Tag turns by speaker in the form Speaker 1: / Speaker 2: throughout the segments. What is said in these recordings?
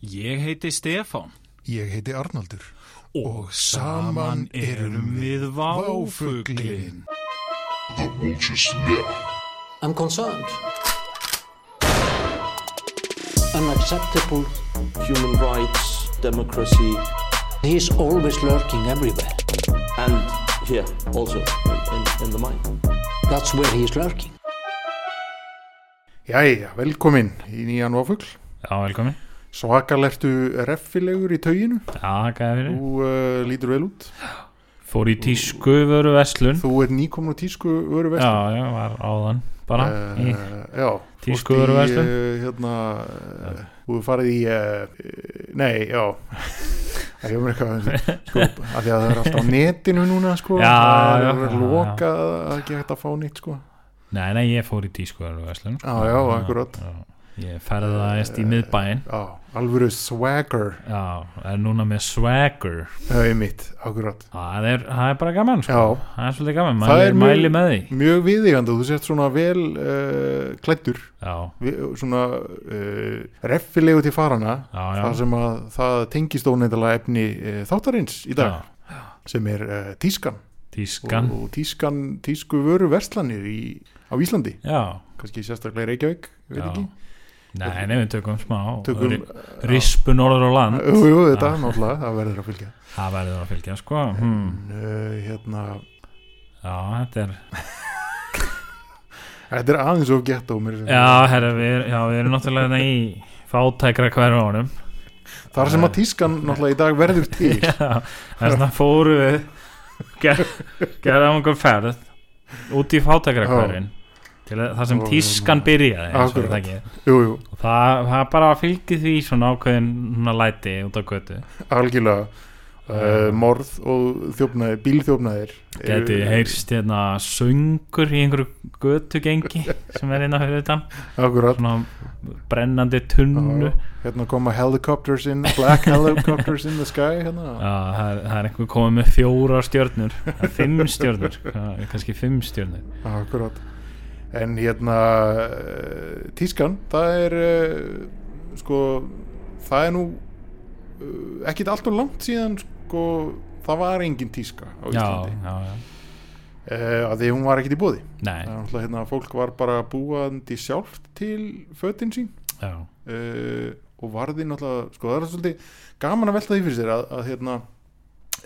Speaker 1: Ég heiti Stefán
Speaker 2: Ég heiti Arnaldur.
Speaker 1: og saman erum við váfuglinn.
Speaker 3: I'm concerned. Unacceptable.
Speaker 4: human rights, democracy,
Speaker 3: He's always lurking everywhere.
Speaker 4: and here also in, in, in the mind.
Speaker 3: That's where he's lurking.
Speaker 5: Jæja, velkomin í nýjan ofugl.
Speaker 6: Já, velkomin.
Speaker 5: Svakal ertu reffilegur í tauginu.
Speaker 6: Já, gæði fyrir.
Speaker 5: Þú uh, lítur vel út.
Speaker 6: Fór í tísku vöru verslun.
Speaker 5: Þú ert nýkomin úr tísku vöru
Speaker 6: Hm. Já, já, var áðan bara.
Speaker 5: Eh.
Speaker 6: í,
Speaker 5: já.
Speaker 6: tísku
Speaker 5: fórst í,
Speaker 6: vöruverslun.
Speaker 5: eh, hérna, uh, þú hefur farið í, uh, nei, já. Það hefur mér eitthvað, sko, af því að það er allt á netinu núna, sko.
Speaker 6: Já,
Speaker 5: það er
Speaker 6: já,
Speaker 5: alveg
Speaker 6: já,
Speaker 5: lokað að ekki hægt að fá nýtt, sko.
Speaker 6: nei, nei, ég fór í tísku vöru verslun.
Speaker 5: Já, já, akkurat. Eh.
Speaker 6: Ég ferðaðist í miðbæin.
Speaker 5: Já, alvöru swagger,
Speaker 6: Já, er núna með swagger.
Speaker 5: það er mitt, akkurat.
Speaker 6: Það er, það er bara gaman, sko.
Speaker 5: Já.
Speaker 6: Það er svolítið gaman.
Speaker 5: Það
Speaker 6: Mæli,
Speaker 5: er mjög-
Speaker 6: mæli með því.
Speaker 5: Mjög viðigandi, þú sért svona vel uh, klættur.
Speaker 6: Já,
Speaker 5: við, svona uh, reffilegu til farana
Speaker 6: já, já.
Speaker 5: þar sem að það tengist óneindalega efni uh, þáttarins í dag
Speaker 6: Já,
Speaker 5: sem er uh, tískan
Speaker 6: tískan.
Speaker 5: og, og tískan, tísku vöru verslanir í, á Íslandi,
Speaker 6: Já,
Speaker 5: kannski sérstaklega í Reykjavík, ég veit
Speaker 6: já.
Speaker 5: ekki
Speaker 6: Nei, nei, við tökum smá.
Speaker 5: Tökum,
Speaker 6: Ri- Ah. Rispu norður á land.
Speaker 5: jú, jú, þetta náttúrulega, það verður að fylgja
Speaker 6: Það verður að fylgja, sko. Hmm.
Speaker 5: uh, hérna,
Speaker 6: Já, þetta er
Speaker 5: þetta er aðeins of ghetto mér finnst.
Speaker 6: Já, herra, við, já, við erum náttúrulega hérna í fátækra hverjónum
Speaker 5: þar
Speaker 6: Eh.
Speaker 5: sem að tískan náttúrulega í dag verður til
Speaker 6: þess að fóru við ger, gerðum okkur ferð út í fátækra
Speaker 5: Já.
Speaker 6: hverjun til að- þar sem
Speaker 5: Ó,
Speaker 6: tískan
Speaker 5: maður.
Speaker 6: byrjaði eins og
Speaker 5: Akkurat.
Speaker 6: það ekki.
Speaker 5: jú, jú,
Speaker 6: og það, það bara fylgir því svona ákveðin svona læti út á götu
Speaker 5: algjörlega
Speaker 6: Eh.
Speaker 5: uh, morð og þjófnaðir, bílþjófnaðir eru-
Speaker 6: geti heyrst hérna söngur í einhverju götugengi sem er innan fyrir utan
Speaker 5: akkurat
Speaker 6: svona brennandi tunnu
Speaker 5: Já, hérna koma helicopters in black helicopters in the sky hérna.
Speaker 6: Já, það er, það er einhver komið með fjórar stjörnur eða Fimm stjörnur já, Kannski fimm stjörnur
Speaker 5: akkurat en hérna eh, tískan, það er eh, sko, það er nú eh, ekkit allt og langt síðan sko, það var engin tíska á
Speaker 6: Já,
Speaker 5: Íslandi
Speaker 6: já, já
Speaker 5: uh, að því hún var ekkit í bóði
Speaker 6: Nei,
Speaker 5: það er náttúrulega hérna, fólk var bara búandi sjálft til fötin sín
Speaker 6: já,
Speaker 5: uh, og varði náttúrulega sko það er svolítið gaman að velta því fyrir sér að, að hérna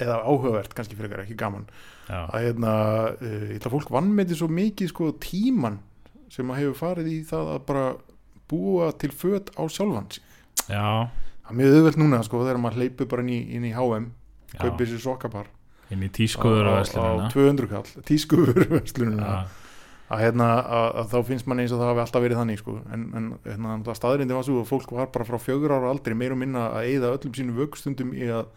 Speaker 5: eða áhugavert kannski frekar ekki gaman
Speaker 6: já
Speaker 5: að hérna, uh, ég ætla að fólk vannmeti svo mikið sko tíman sem að hefur farið í það að bara búa til föt á sjálfan sig
Speaker 6: Já,
Speaker 5: það er mjög auðvelt núna sko þegar maður hleypur bara inn í, inn í H&M
Speaker 6: já
Speaker 5: kaupir sér sokkapar
Speaker 6: Inn í tískuður á
Speaker 5: á, á
Speaker 6: Vestlunina
Speaker 5: 200 kall tískuður verslunina
Speaker 6: Já,
Speaker 5: að, hérna, að, að þá finnst mann eins og það hafi alltaf verið þannig sko. en, en hérna, náttúrulega staðrindin var svo að fólk var bara frá fjögur ára aldrei meir og minna að eyða öllum sínum vöggstundum í að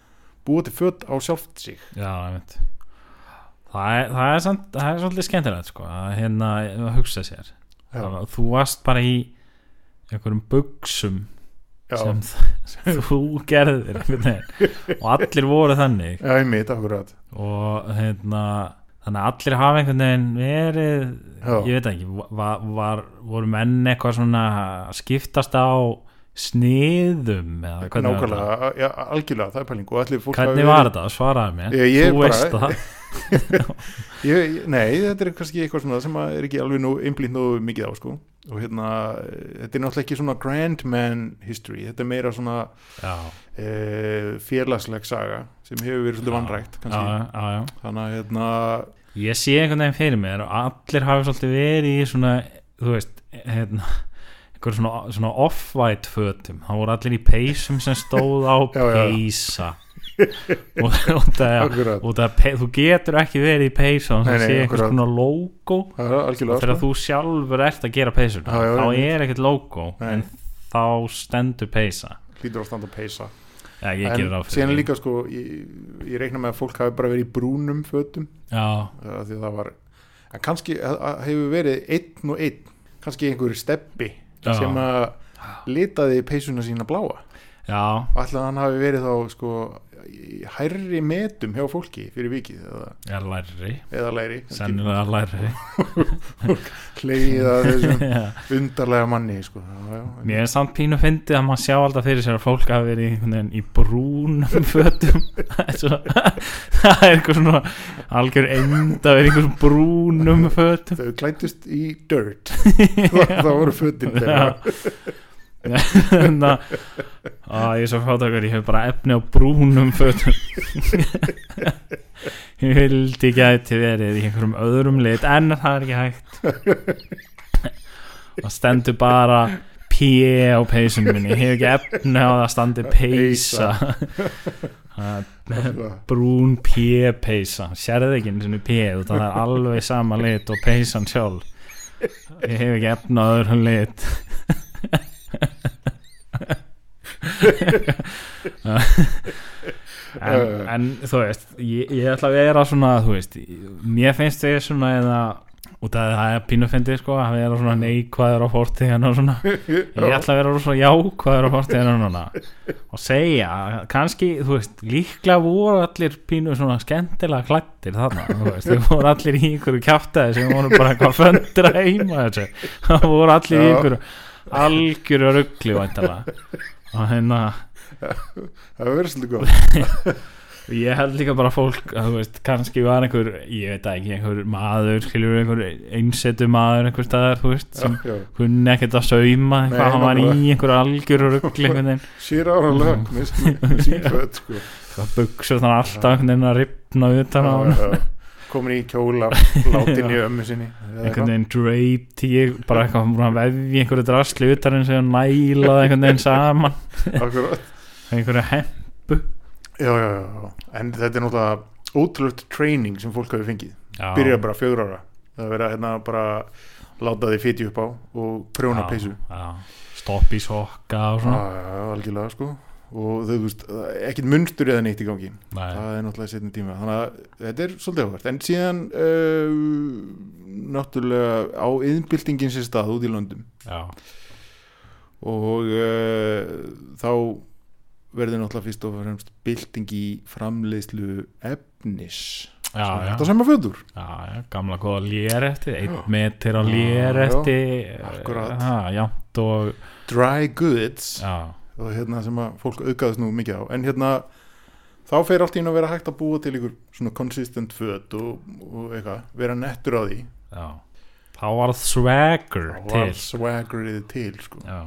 Speaker 5: búa til fött á sjálft sig
Speaker 6: já, ég veit Það er, það er, samt, það er svolítið skemmtilegt sko að hérna að hugsa sér
Speaker 5: já,
Speaker 6: Þannig að Þú varst bara í einhverjum buksum
Speaker 5: já,
Speaker 6: sem, sem þú gerðir einhvern veginn. og allir voru þannig
Speaker 5: já einmitt, akkurat
Speaker 6: og hérna þannig að allir hafa einhvern veginn verið
Speaker 5: Já.
Speaker 6: ég veit ekki, var, var, voru menn eitthvað svona að skiptast á sniðum eða hvernig var þetta?
Speaker 5: nákvæmlega, a- já, algjörlega, það er pæling og allir fólk
Speaker 6: Hvernig var þetta? Svaraði mér
Speaker 5: Ég- ég
Speaker 6: Þú
Speaker 5: bara-
Speaker 6: veist það
Speaker 5: Ég, ég- nei, þetta er kannski eitthvað svona sem að er ekki alveg nú einblínt nú mikið á sko. og hérna, eh, þetta er náttúrulega ekki svona grand man history, þetta er meira svona
Speaker 6: Já,
Speaker 5: e, félagsleg saga sem hefur verið svolítið
Speaker 6: Já.
Speaker 5: vannrægt
Speaker 6: já,
Speaker 5: kannski,
Speaker 6: já, já
Speaker 5: þannig að hérna,
Speaker 6: Ég sé einhvern veginn fyrir mér og allir hafa svolítið verið í svona þú veist, hérna einhver svona, svona off-white fötum það voru allir í peysum sem stóð á
Speaker 5: Já, já.
Speaker 6: peysa og, og það
Speaker 5: akkurat
Speaker 6: og það, er pe- þú getur ekki verið í peysan
Speaker 5: Nei,
Speaker 6: sem
Speaker 5: nei,
Speaker 6: sé einhvers
Speaker 5: akkurat.
Speaker 6: konar logo
Speaker 5: Það er algjörlega
Speaker 6: þegar
Speaker 5: sko.
Speaker 6: þú sjálfur ert að gera peysun
Speaker 5: Já, já,
Speaker 6: þá
Speaker 5: einmitt.
Speaker 6: er ekkert logo
Speaker 5: Nei.
Speaker 6: en þá stendur peysa
Speaker 5: hlýtur á standa að peysa
Speaker 6: ja, ég gerir ráð fyrir
Speaker 5: síðan
Speaker 6: því.
Speaker 5: líka sko ég, ég reikna með að fólk hafi bara verið í brúnum fötum
Speaker 6: já,
Speaker 5: uh, því að það var en kannski að- að hefur verið einn og einn kannski einhverju steppi
Speaker 6: Já.
Speaker 5: sem að litaði peysuna sína bláa
Speaker 6: já,
Speaker 5: Ætlaði hann hafi verið þá sko í hærri metum hjá fólki fyrir vikið eða,
Speaker 6: já, lærri
Speaker 5: eða læri
Speaker 6: sennilega lærri
Speaker 5: Hlegið að þessum
Speaker 6: Já.
Speaker 5: undarlega manni sko. já, já, en-
Speaker 6: Mér er samt pínu fyndið að maður sjá alltaf fyrir sér að fólk hafi verið einhvern veginn í brúnum fötum Það er svo- það er eitthvað svona algjör end að vera í einhverjum brúnum fötum
Speaker 5: Þau klættist í dirt Það, það voru fötin þeirra
Speaker 6: Þannig að Hérna, á, ég er svo fátakar, ég hef bara efni á brúnum fötum Ég vildi gæti verið í einhverjum öðrum lit en það er ekki hægt og stendur bara pje á peysunum minni ég hef ekki efni á það að standi peysa Það er
Speaker 5: Svona.
Speaker 6: brún pje peysa sérðu ekki einu sinni pje það er alveg sama lit og peysan sjálf ég hef ekki efni á öðrum lit en, en þú veist ég, ég ætla að vera svona þú veist, mér finnst þau svona eða út af því að það er pínufindi sko að vera svona neikvæður á fórtíðan og svona ég ætla að vera svona jákvæður á fórtíðan og svona og segja, kannski þú veist, líklega voru allir pínu svona skemmtilega klættir þarna, þú veist, þau voru allir í einhverju kjáftæði sem voru bara eitthvað föndra heima þessu, það voru allir í
Speaker 5: Já.
Speaker 6: einhverju algjöru ruggli væntalega og hérna
Speaker 5: Það hefur verið svolítið góð
Speaker 6: Ég held líka bara fólk að þú veist, kannski var einhver, ég veit það ekki einhver maður, skiljur einhver einsetu maður einhver staðar, þú veist sem
Speaker 5: Já, já.
Speaker 6: kunni ekkert að sauma
Speaker 5: Nei,
Speaker 6: eitthvað, hann var í
Speaker 5: nákvæmlega.
Speaker 6: einhver algjör rugli einhvern veginn,
Speaker 5: Sér ára lög
Speaker 6: Mm.
Speaker 5: með sín föt sko.
Speaker 6: það buksu þannig alltaf einhvern veginn að ripna utan á hann
Speaker 5: Já, já. eh, Komin í kjóla Látin í ömmu sinni eða
Speaker 6: einhvern veginn draped í bara eitthvað hún var að vefi einhverju drasli utan eins og nælaði einhvern veginn saman
Speaker 5: eitthvað. Akkurat
Speaker 6: einhverju hemp
Speaker 5: já, já, já, já. En þetta er náttúrulega ótrúlegt training sem fólk hafi fengið
Speaker 6: Já.
Speaker 5: Byrja bara fjögur ára Það er verið að hérna bara láta þið fiti upp á og prjóna
Speaker 6: Já,
Speaker 5: peysu
Speaker 6: já. stopp í sokka og
Speaker 5: Já,
Speaker 6: svona
Speaker 5: já, já, algjörlega sko og þau veist, það er ekkert munstur eða neitt í gangi
Speaker 6: Nei.
Speaker 5: það er náttúrulega setjum tíma þannig að þetta er svolítið áhvert en síðan uh, náttúrulega á yðnbyltingin sér stað út í löndum
Speaker 6: Já.
Speaker 5: og uh, þá verður náttúrulega fyrst og fremst bylting í framleiðslu efnis
Speaker 6: Já, já.
Speaker 5: þetta sem að föður
Speaker 6: Já, já, gamla góða léretti, einn metr á léretti
Speaker 5: akkurat.
Speaker 6: Já, jafnt og
Speaker 5: dry goods
Speaker 6: Já,
Speaker 5: og hérna sem að fólk aukaðist nú mikið á en hérna þá fer allt í einu að vera hægt að búa til ykkur svona consistent föt og, og eitthvað, vera nettur á því
Speaker 6: já Þá var swagger
Speaker 5: og var
Speaker 6: til
Speaker 5: swaggerið til sko.
Speaker 6: Já,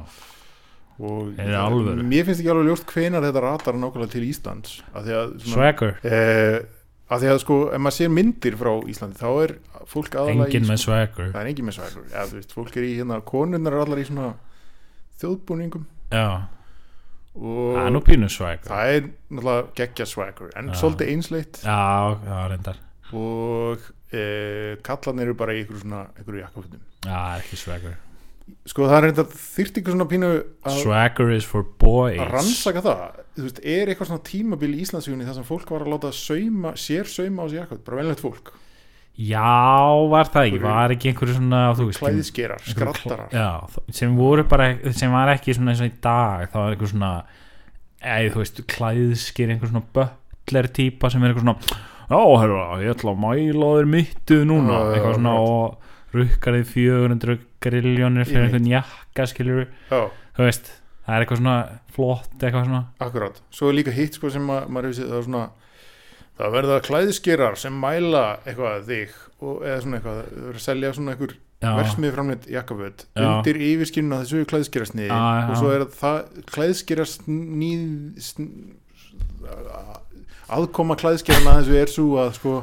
Speaker 5: og
Speaker 6: Er það alvöru?
Speaker 5: mér finnst ekki alveg ljóst hvenar þetta ratar nákvæmlega til Íslands að því að, svona,
Speaker 6: swagger
Speaker 5: eh, að, því að sko, ef maður sér myndir frá Íslandi þá er fólk aðalega
Speaker 6: Engin
Speaker 5: í sko-
Speaker 6: með swagger
Speaker 5: það er engin með swagger ja, þú veist, fólk er í hérna, konurnar er allar í svona þjóðbúningum
Speaker 6: Já,
Speaker 5: og
Speaker 6: það er nú pínu swagger
Speaker 5: það er náttúrulega geggja swagger en
Speaker 6: Já.
Speaker 5: svolítið einsleitt
Speaker 6: Já, já, reyndar
Speaker 5: og e, kallan eru bara í ykkur svona ykkur jakkafutum
Speaker 6: Já, það er ekki swagger
Speaker 5: sko það er reynda þyrt ykkur svona pínu að,
Speaker 6: Swagger is for
Speaker 5: að
Speaker 6: boys
Speaker 5: rannsaka það þú veist, er eitthvað svona tímabil í Íslandsjóni þar sem fólk var að láta sauma, sér sauma á sér jakkafut, bara venlegt fólk
Speaker 6: Já, var það ekki,
Speaker 5: Einhverju-
Speaker 6: var ekki einhverju svona þú veist,
Speaker 5: klæðiskerar, skrattarar já,
Speaker 6: já, þ- sem voru bara e- sem var ekki svona eins og í dag það var eitthvað svona eða þú veist, klæðskir einhver svona bötler típa sem er eitthvað svona já, herra, ég ætla að mæla þér mittu núna
Speaker 5: Já, já,
Speaker 6: eitthvað svona
Speaker 5: akkurat.
Speaker 6: og rukkar þið 400 griljónir fyrir
Speaker 5: Einmitt.
Speaker 6: einhvern jakka skilur þú veist, það er eitthvað svona flott eitthvað svona
Speaker 5: akkurat, svo er líka hitt sko sem að, maður hefur séð það er svona það verða klæðiskerar sem mæla eitthvað þig og, eða svona eitthvað, það verður að selja svona einhver
Speaker 6: já,
Speaker 5: versmið framleitt jakkaföt
Speaker 6: Já.
Speaker 5: undir yfirskinu að þessu klæðskirasniði
Speaker 6: Já, já.
Speaker 5: og svo er það klæðskirasnið sn, aðkoma klæðskirana að þessu er svo að sko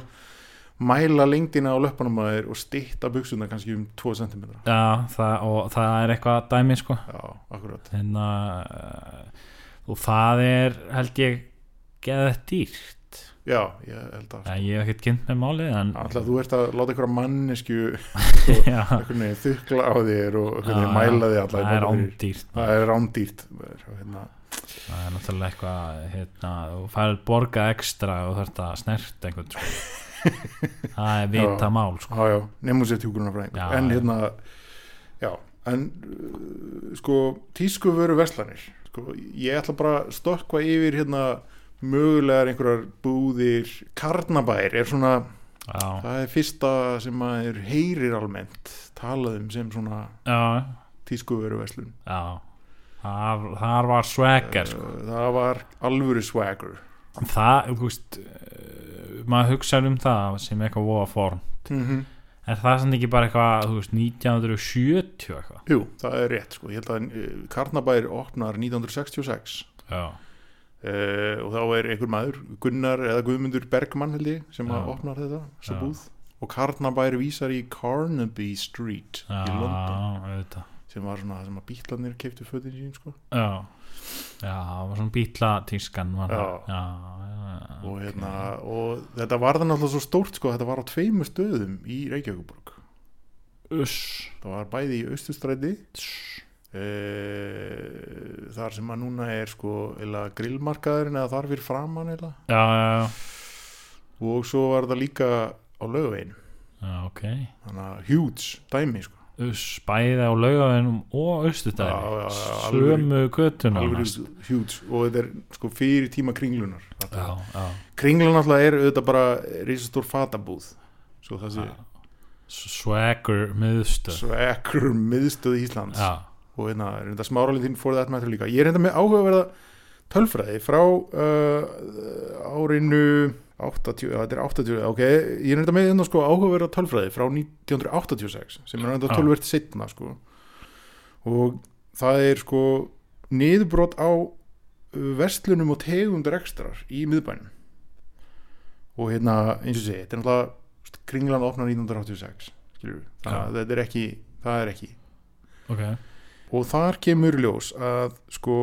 Speaker 5: mæla lengdina á löpunum að þér og stytta buksuna kannski um 2 cm
Speaker 6: já það, og það er eitthvað dæmi sko
Speaker 5: Já, akkurat
Speaker 6: þannig að og það er held ég geðað dýrt
Speaker 5: Já, ég held að
Speaker 6: Nei, ég hef ekkert kynnt með málið en
Speaker 5: Alltaf þú ert að láta einhverja mannesku
Speaker 6: já,
Speaker 5: þykla á þér og einhvern veginn
Speaker 6: Já,
Speaker 5: mæla þig alla
Speaker 6: það er
Speaker 5: einhvern veginn.
Speaker 6: ándýrt maður.
Speaker 5: Það er rándýrt hérna.
Speaker 6: það er náttúrulega eitthvað hérna, þú færð borga ekstra og þarf að snerta einhvern sko. það er vita
Speaker 5: Já.
Speaker 6: mál sko.
Speaker 5: Já, já, nefnum sér tjúkurunarfræðing
Speaker 6: Já,
Speaker 5: en
Speaker 6: já.
Speaker 5: hérna já, en uh, sko tísku veru verslanir sko, ég ætla bara að stökkva yfir hérna mögulegar einhverjar búðir Karnabær er svona
Speaker 6: já,
Speaker 5: það er fyrsta sem maður heyrir almennt talað um sem svona
Speaker 6: já,
Speaker 5: tískuveruverslun
Speaker 6: já. Þar, þar var swagger sko.
Speaker 5: Eh, það var alvöru swagger
Speaker 6: það, þú veist eh, maður hugsa um það sem eitthvað voða form
Speaker 5: mm
Speaker 6: Mhm.
Speaker 5: -hmm.
Speaker 6: er það samt ekki bara eitthvað, þú veist, 1970 eitthvað
Speaker 5: Jú, það er rétt sko, ég held að eh, Karnabær opnar 1966
Speaker 6: já,
Speaker 5: uh, og þá er einhver maður, Gunnar eða Guðmundur Bergmann held ég sem að
Speaker 6: Já.
Speaker 5: opnar þetta, þessa
Speaker 6: Já.
Speaker 5: búð og Karnabær vísar í Carnaby Street í London
Speaker 6: já, auðvitað
Speaker 5: sem var svona það sem að bítlanir keiftu fötin sín sko.
Speaker 6: já, já, það var svona bítla tískan var það. já, já, já.
Speaker 5: og, hérna, og þetta var það náttúrulega svo stórt sko, þetta var á tveimur stöðum í Reykjavíkuborg
Speaker 6: uss
Speaker 5: það var bæði í Östustræti uh, þar sem að núna er sko, eða grillmarkaðurinn eða þar fyrir framan eða
Speaker 6: já, já, já,
Speaker 5: og svo var það líka á laugavegin
Speaker 6: já, ok
Speaker 5: þannig að huge dæmi sko.
Speaker 6: uss, bæði á laugavinnum og
Speaker 5: Já, já,
Speaker 6: austudæði
Speaker 5: já, alvöru-
Speaker 6: sömu göttuna
Speaker 5: alveg
Speaker 6: næst.
Speaker 5: huge og þetta er sko, fyrir tíma kringlunar
Speaker 6: já, já,
Speaker 5: kringlan alltaf er auðvitað bara risastór fatabúð svo það sé
Speaker 6: swagger miðstöð
Speaker 5: svekkur miðstöð Íslands
Speaker 6: já,
Speaker 5: og hérna, reynda smáralinn þín fór það með líka ég er reynda með áhugaverða tölfræði frá uh, árinu 80, já, þetta er 80, ok ég er reynda með hérna sko áhugaverða tölfræði frá 1986 sem er reynda
Speaker 6: Já.
Speaker 5: tölvert setna sko og það er sko niðurbrot á uh, verslunum og tegundar ekstrar í miðbænum og hérna, eins og sé, þetta er náttúrulega kringlan opnar 1986 skilur við, þannig að þetta er ekki það er ekki
Speaker 6: ok
Speaker 5: og þar kemur í ljós að sko,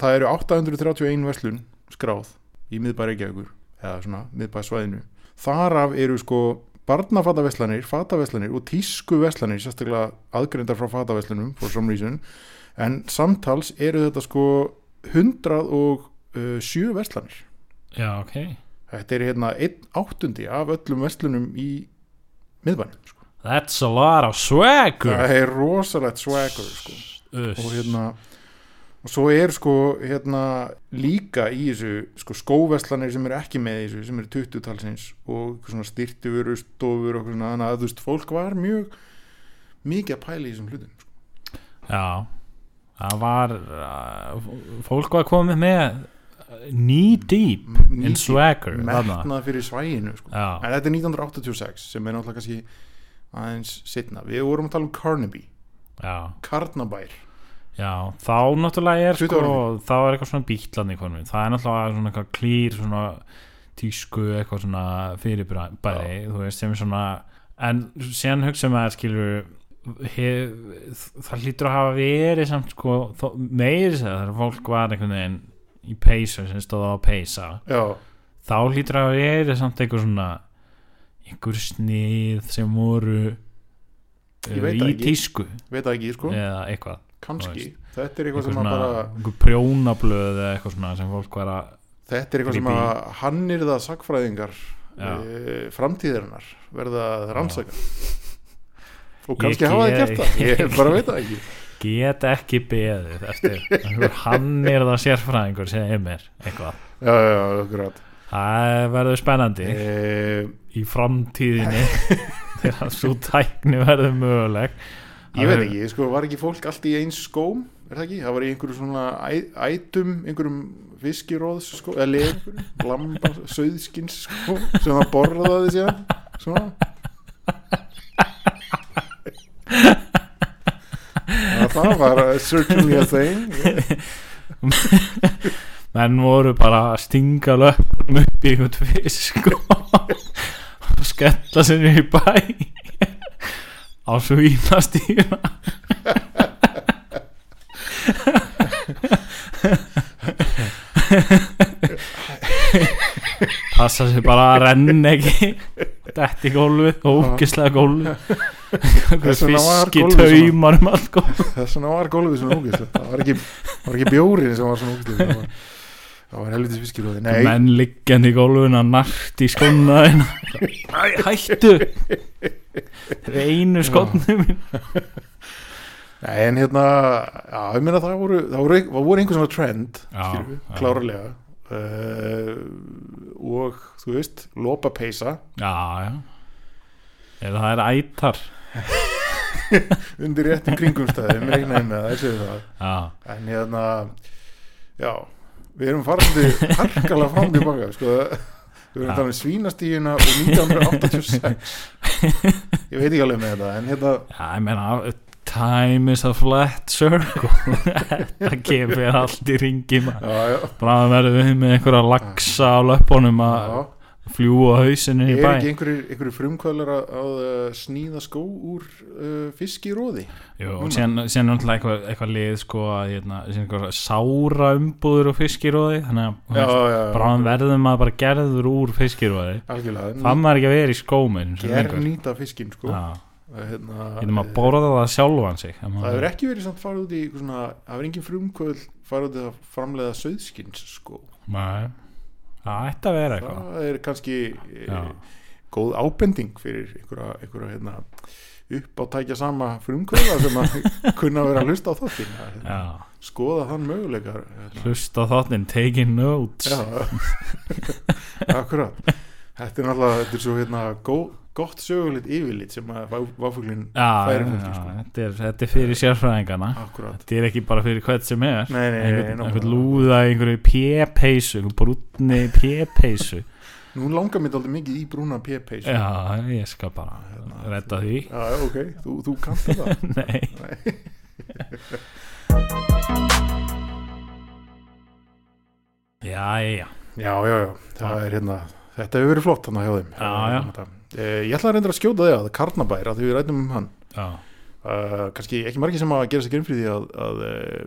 Speaker 5: það eru 831 verslun skráð í miðbæri Reykjavíkur eða svona miðbæsvæðinu þar af eru sko barnafataverslanir, fataverslanir og tískuverslanir sérstaklega aðgrindar frá fataverslunum for some reason en samtals eru þetta sko 107 verslanir
Speaker 6: já, ok
Speaker 5: þetta er hérna 1 áttundi af öllum verslunum í miðbænum sko.
Speaker 6: that's a lot of swagger
Speaker 5: það er rosalegt swagger sko
Speaker 6: uss,
Speaker 5: og hérna og svo er sko hérna líka í þessu sko skóveslanir sem eru ekki með í þessu sem eru 20 talsins og eitthvað svona styrtiveru stofur og eitthvað svona þannig að þú veist fólk var mjög mikið að pæla í þessum hlutum sko.
Speaker 6: já það var uh, fólk var komið með knee deep
Speaker 5: Mikið
Speaker 6: in swagger þarna.
Speaker 5: metnað fyrir svæginu sko.
Speaker 6: Já.
Speaker 5: en þetta er 1986 sem er náttúrulega kannski aðeins sitna við vorum að tala um Carnaby
Speaker 6: já,
Speaker 5: Carnabær
Speaker 6: já, þá náttúrulega er
Speaker 5: 20
Speaker 6: sko,
Speaker 5: ára
Speaker 6: þá er eitthvað svona bítlan í konum það er náttúrulega svona eitthvað klýr svona tísku eitthvað svona fyrirbæri, þú veist, sem er svona en síðan hugsa maður skilur hef, það hlýtur að hafa verið samt sko þó, meiri sér þegar fólk var einhvern veginn í peysu sem stóð á að peysa
Speaker 5: já,
Speaker 6: þá hlýtur að vera samt einhver svona einhver snið sem voru
Speaker 5: Ég
Speaker 6: uh,
Speaker 5: veit það
Speaker 6: í
Speaker 5: ekki.
Speaker 6: tísku
Speaker 5: veit það ekki sko
Speaker 6: eða eitthvað
Speaker 5: kannski,
Speaker 6: þú
Speaker 5: þetta er eitthvað
Speaker 6: einhver
Speaker 5: sem að
Speaker 6: svona,
Speaker 5: bara
Speaker 6: einhver prjónablöð eða eitthvað svona sem fólk var að
Speaker 5: Þetta er eitthvað sem
Speaker 6: Creepy.
Speaker 5: að hannirða sakfræðingar
Speaker 6: Já.
Speaker 5: e, framtíðarinnar verða að rannsaka og
Speaker 6: Ég-
Speaker 5: kannski hafa það
Speaker 6: ég-
Speaker 5: gert það
Speaker 6: ég-
Speaker 5: ég bara veit það ekki
Speaker 6: get ekki beðið eftir einhver hann er það sérfræðingur sem er mér eitthvað
Speaker 5: Já, já, já, akkurat
Speaker 6: það verður spennandi
Speaker 5: e,
Speaker 6: í framtíðinni þegar svo tækni verður möguleg
Speaker 5: Ég veit ekki, sko, var ekki fólk allt í eins skóm er það ekki? Það var í einhverju svona æ- ætum, einhverjum fiskiróðs sko, eða lefur, lamba söðskins sko, sem það borðaði síðan svona Já, Það var uh, certainly a thing
Speaker 6: menn voru bara að stinga löpunum upp í einhvern fisk og og skella sér niður í bæ á svínastýra passa sér bara að renna ekki dætt í gólfið, ógislega gólfið
Speaker 5: Þess vegna var
Speaker 6: fiski
Speaker 5: gólfið svona.
Speaker 6: taumar um allt gólfið
Speaker 5: þess vegna var gólfið svona ógæslegt það var ekki, var ekki bjórin sem var svona ógæslegt það var, það var helvitis viskilóði nei,
Speaker 6: menn liggjandi í gólfun að nart í skóna þeirna. Æ, hættu þeir eru einu skónu mín
Speaker 5: Nei, en hérna, já, ég meina það voru, það voru, það voru einhver svona trend,
Speaker 6: Já,
Speaker 5: skilur við,
Speaker 6: já.
Speaker 5: klárarlega uh, og, þú veist, lopa peysa
Speaker 6: já, já eða það er ætar
Speaker 5: undir réttum kringumstæðum, reiknaði með það, þessi það.
Speaker 6: já,
Speaker 5: En hérna, já, við erum farandi harkalega fram til baka, sko, við erum
Speaker 6: Já.
Speaker 5: talað um svínastíðina og 1986. Ég veit ekki alveg með þetta, en hérna,
Speaker 6: já, ég meina time is a flat circle það kemur allt í ringi maður.
Speaker 5: já, já,
Speaker 6: bráðum verðum við með einhverja laxa á löppunum að
Speaker 5: já.
Speaker 6: fljúa hausinu í
Speaker 5: Er ekki
Speaker 6: bæ
Speaker 5: einhverjir, einhverjir frumkvölar að, að uh, sníða skó úr uh, fiskiróði?
Speaker 6: Jú,
Speaker 5: núna.
Speaker 6: og síðan síðan er náttúrulega eitthvað, eitthvað lið sko að hérna, síðan eitthvað sára umbúður og fiskiróði þannig að
Speaker 5: já.
Speaker 6: bráðum verðum maður bara gerður úr fiskiróði
Speaker 5: Algjörlega.
Speaker 6: það maður ekki að vera í skómin
Speaker 5: Ger nýta fiskinn, sko.
Speaker 6: Já,
Speaker 5: Uh, Hérna,
Speaker 6: getur maður
Speaker 5: eh,
Speaker 6: að borða það sjálfan sig
Speaker 5: það hefur ekki verið samt farið út í eitthvað svona, það hefur engin frumkvöld farið út í að framleiða söðskins, sko.
Speaker 6: Nei, það ætti að vera eitthvað
Speaker 5: Það er kannski e,
Speaker 6: Já.
Speaker 5: góð ábending fyrir einhverja, einhverja hérna, upp á tækja sama frumkvöla sem að kunna að vera að hlusta á þáttinn. að, hérna,
Speaker 6: Já,
Speaker 5: Skoða þann möguleikar. Hérna.
Speaker 6: hlusta á þáttinn, taking notes
Speaker 5: Já, akkurat Þetta er náttúrulega, þetta er svo hérna gó, gott sögulegt yfirlit sem að váfuglinn
Speaker 6: já,
Speaker 5: færi
Speaker 6: já,
Speaker 5: fólki sko.
Speaker 6: þetta, er, þetta er fyrir sérfræðingana
Speaker 5: Akkurat,
Speaker 6: Þetta er ekki bara fyrir hvert sem er
Speaker 5: Nei, nei, nei,
Speaker 6: einhvern,
Speaker 5: nákvæmlega.
Speaker 6: einhvern lúða, í einhverju p-peysu Einhverju brúnni p-peysu
Speaker 5: nú langar mér aldrei mikið í brúna PP sko.
Speaker 6: Já, ég skal bara redda því
Speaker 5: Já, já, ok, þú, þú kanntu það
Speaker 6: Nei, já, já
Speaker 5: Já, já, já, það er hérna Þetta hefur verið flott hann hjá þeim
Speaker 6: Já, já.
Speaker 5: Eh, Ég ætla að reynda að skjóta því að Karnabær að því við rætum um hann
Speaker 6: Já,
Speaker 5: uh, kannski ekki margir sem að gera sér grinn fyrir því að, að uh,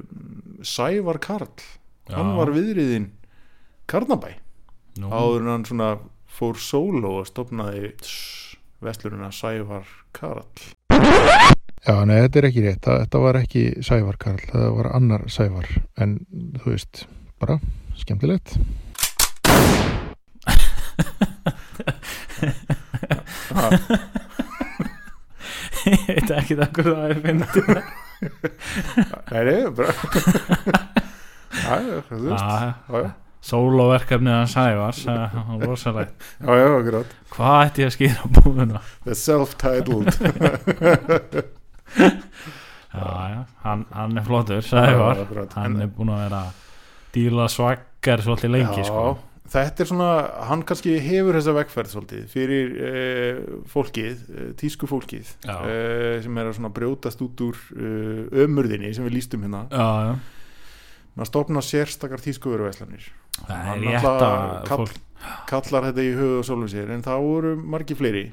Speaker 5: Sævar Karl
Speaker 6: já.
Speaker 5: hann var viðriðin Karnabæ
Speaker 6: Nú,
Speaker 5: áður en hann svona fór sóló og stopnaði vestlununa Sævar Karl Já, nei, þetta er ekki rétt Þa- þetta var ekki Sævar Karl, það var annar Sævar en þú veist, bara skemmtilegt
Speaker 6: ég veit ekki það hverju það er fyndið
Speaker 5: Nei, nei, bara Já, já, þú veist
Speaker 6: Já,
Speaker 5: Já, já,
Speaker 6: Sóloverkefnið hans Sævars eh, rosalegt.
Speaker 5: já, já, akkurat
Speaker 6: Hvað ætti ég að skýra búðuna?
Speaker 5: The self-titled
Speaker 6: Já, já, hann, hann er flottur,
Speaker 5: Já,
Speaker 6: Sævar
Speaker 5: akkurat.
Speaker 6: Hann
Speaker 5: En-
Speaker 6: er búin að vera að díla svaggar svolítið lengi,
Speaker 5: Já,
Speaker 6: sko
Speaker 5: Þetta er svona, hann kannski hefur þessa vegferð svolítið fyrir uh, fólkið, uh, tísku fólkið
Speaker 6: Já.
Speaker 5: uh, sem er að svona brjótast út úr uh, ömurðinni sem við lístum hérna
Speaker 6: Já, já,
Speaker 5: maður stopna sérstakar tísku veruvæslanir
Speaker 6: það
Speaker 5: Hann
Speaker 6: er rétt
Speaker 5: náttúrulega
Speaker 6: að
Speaker 5: kall-
Speaker 6: fólk
Speaker 5: kallar þetta í höfuð og sólum sér en það voru margi fleiri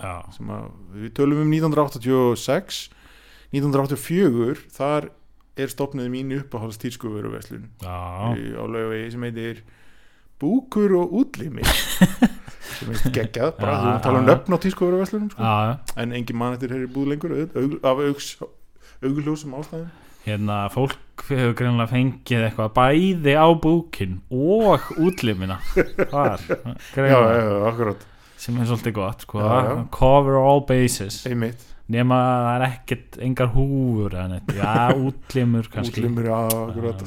Speaker 6: Já,
Speaker 5: sem að, við tölum um 1986 1984 þar er stopnið mín uppáhalds tísku veruvæslun
Speaker 6: já,
Speaker 5: í- á laugavegi sem heitir Búkur og útlimi sem heitir geggjað bara
Speaker 6: Já,
Speaker 5: þú tala um
Speaker 6: já.
Speaker 5: nöfn á tískóðurverslunum sko.
Speaker 6: já
Speaker 5: en engin mann eftir hér í búð lengur auð- aug- af augs- augljósum ástæðum
Speaker 6: Hérna, fólk hefur greinlega fengið eitthvað bæði á búkin og útlimina Þar,
Speaker 5: já, já,
Speaker 6: greinlega,
Speaker 5: já, akkurat,
Speaker 6: sem er svolítið gott, sko
Speaker 5: Já, já.
Speaker 6: Cover all bases
Speaker 5: einmitt
Speaker 6: nema að það er ekkert engar húfur eða neitt, já, útlimur kannski
Speaker 5: útlimur, já, akkurat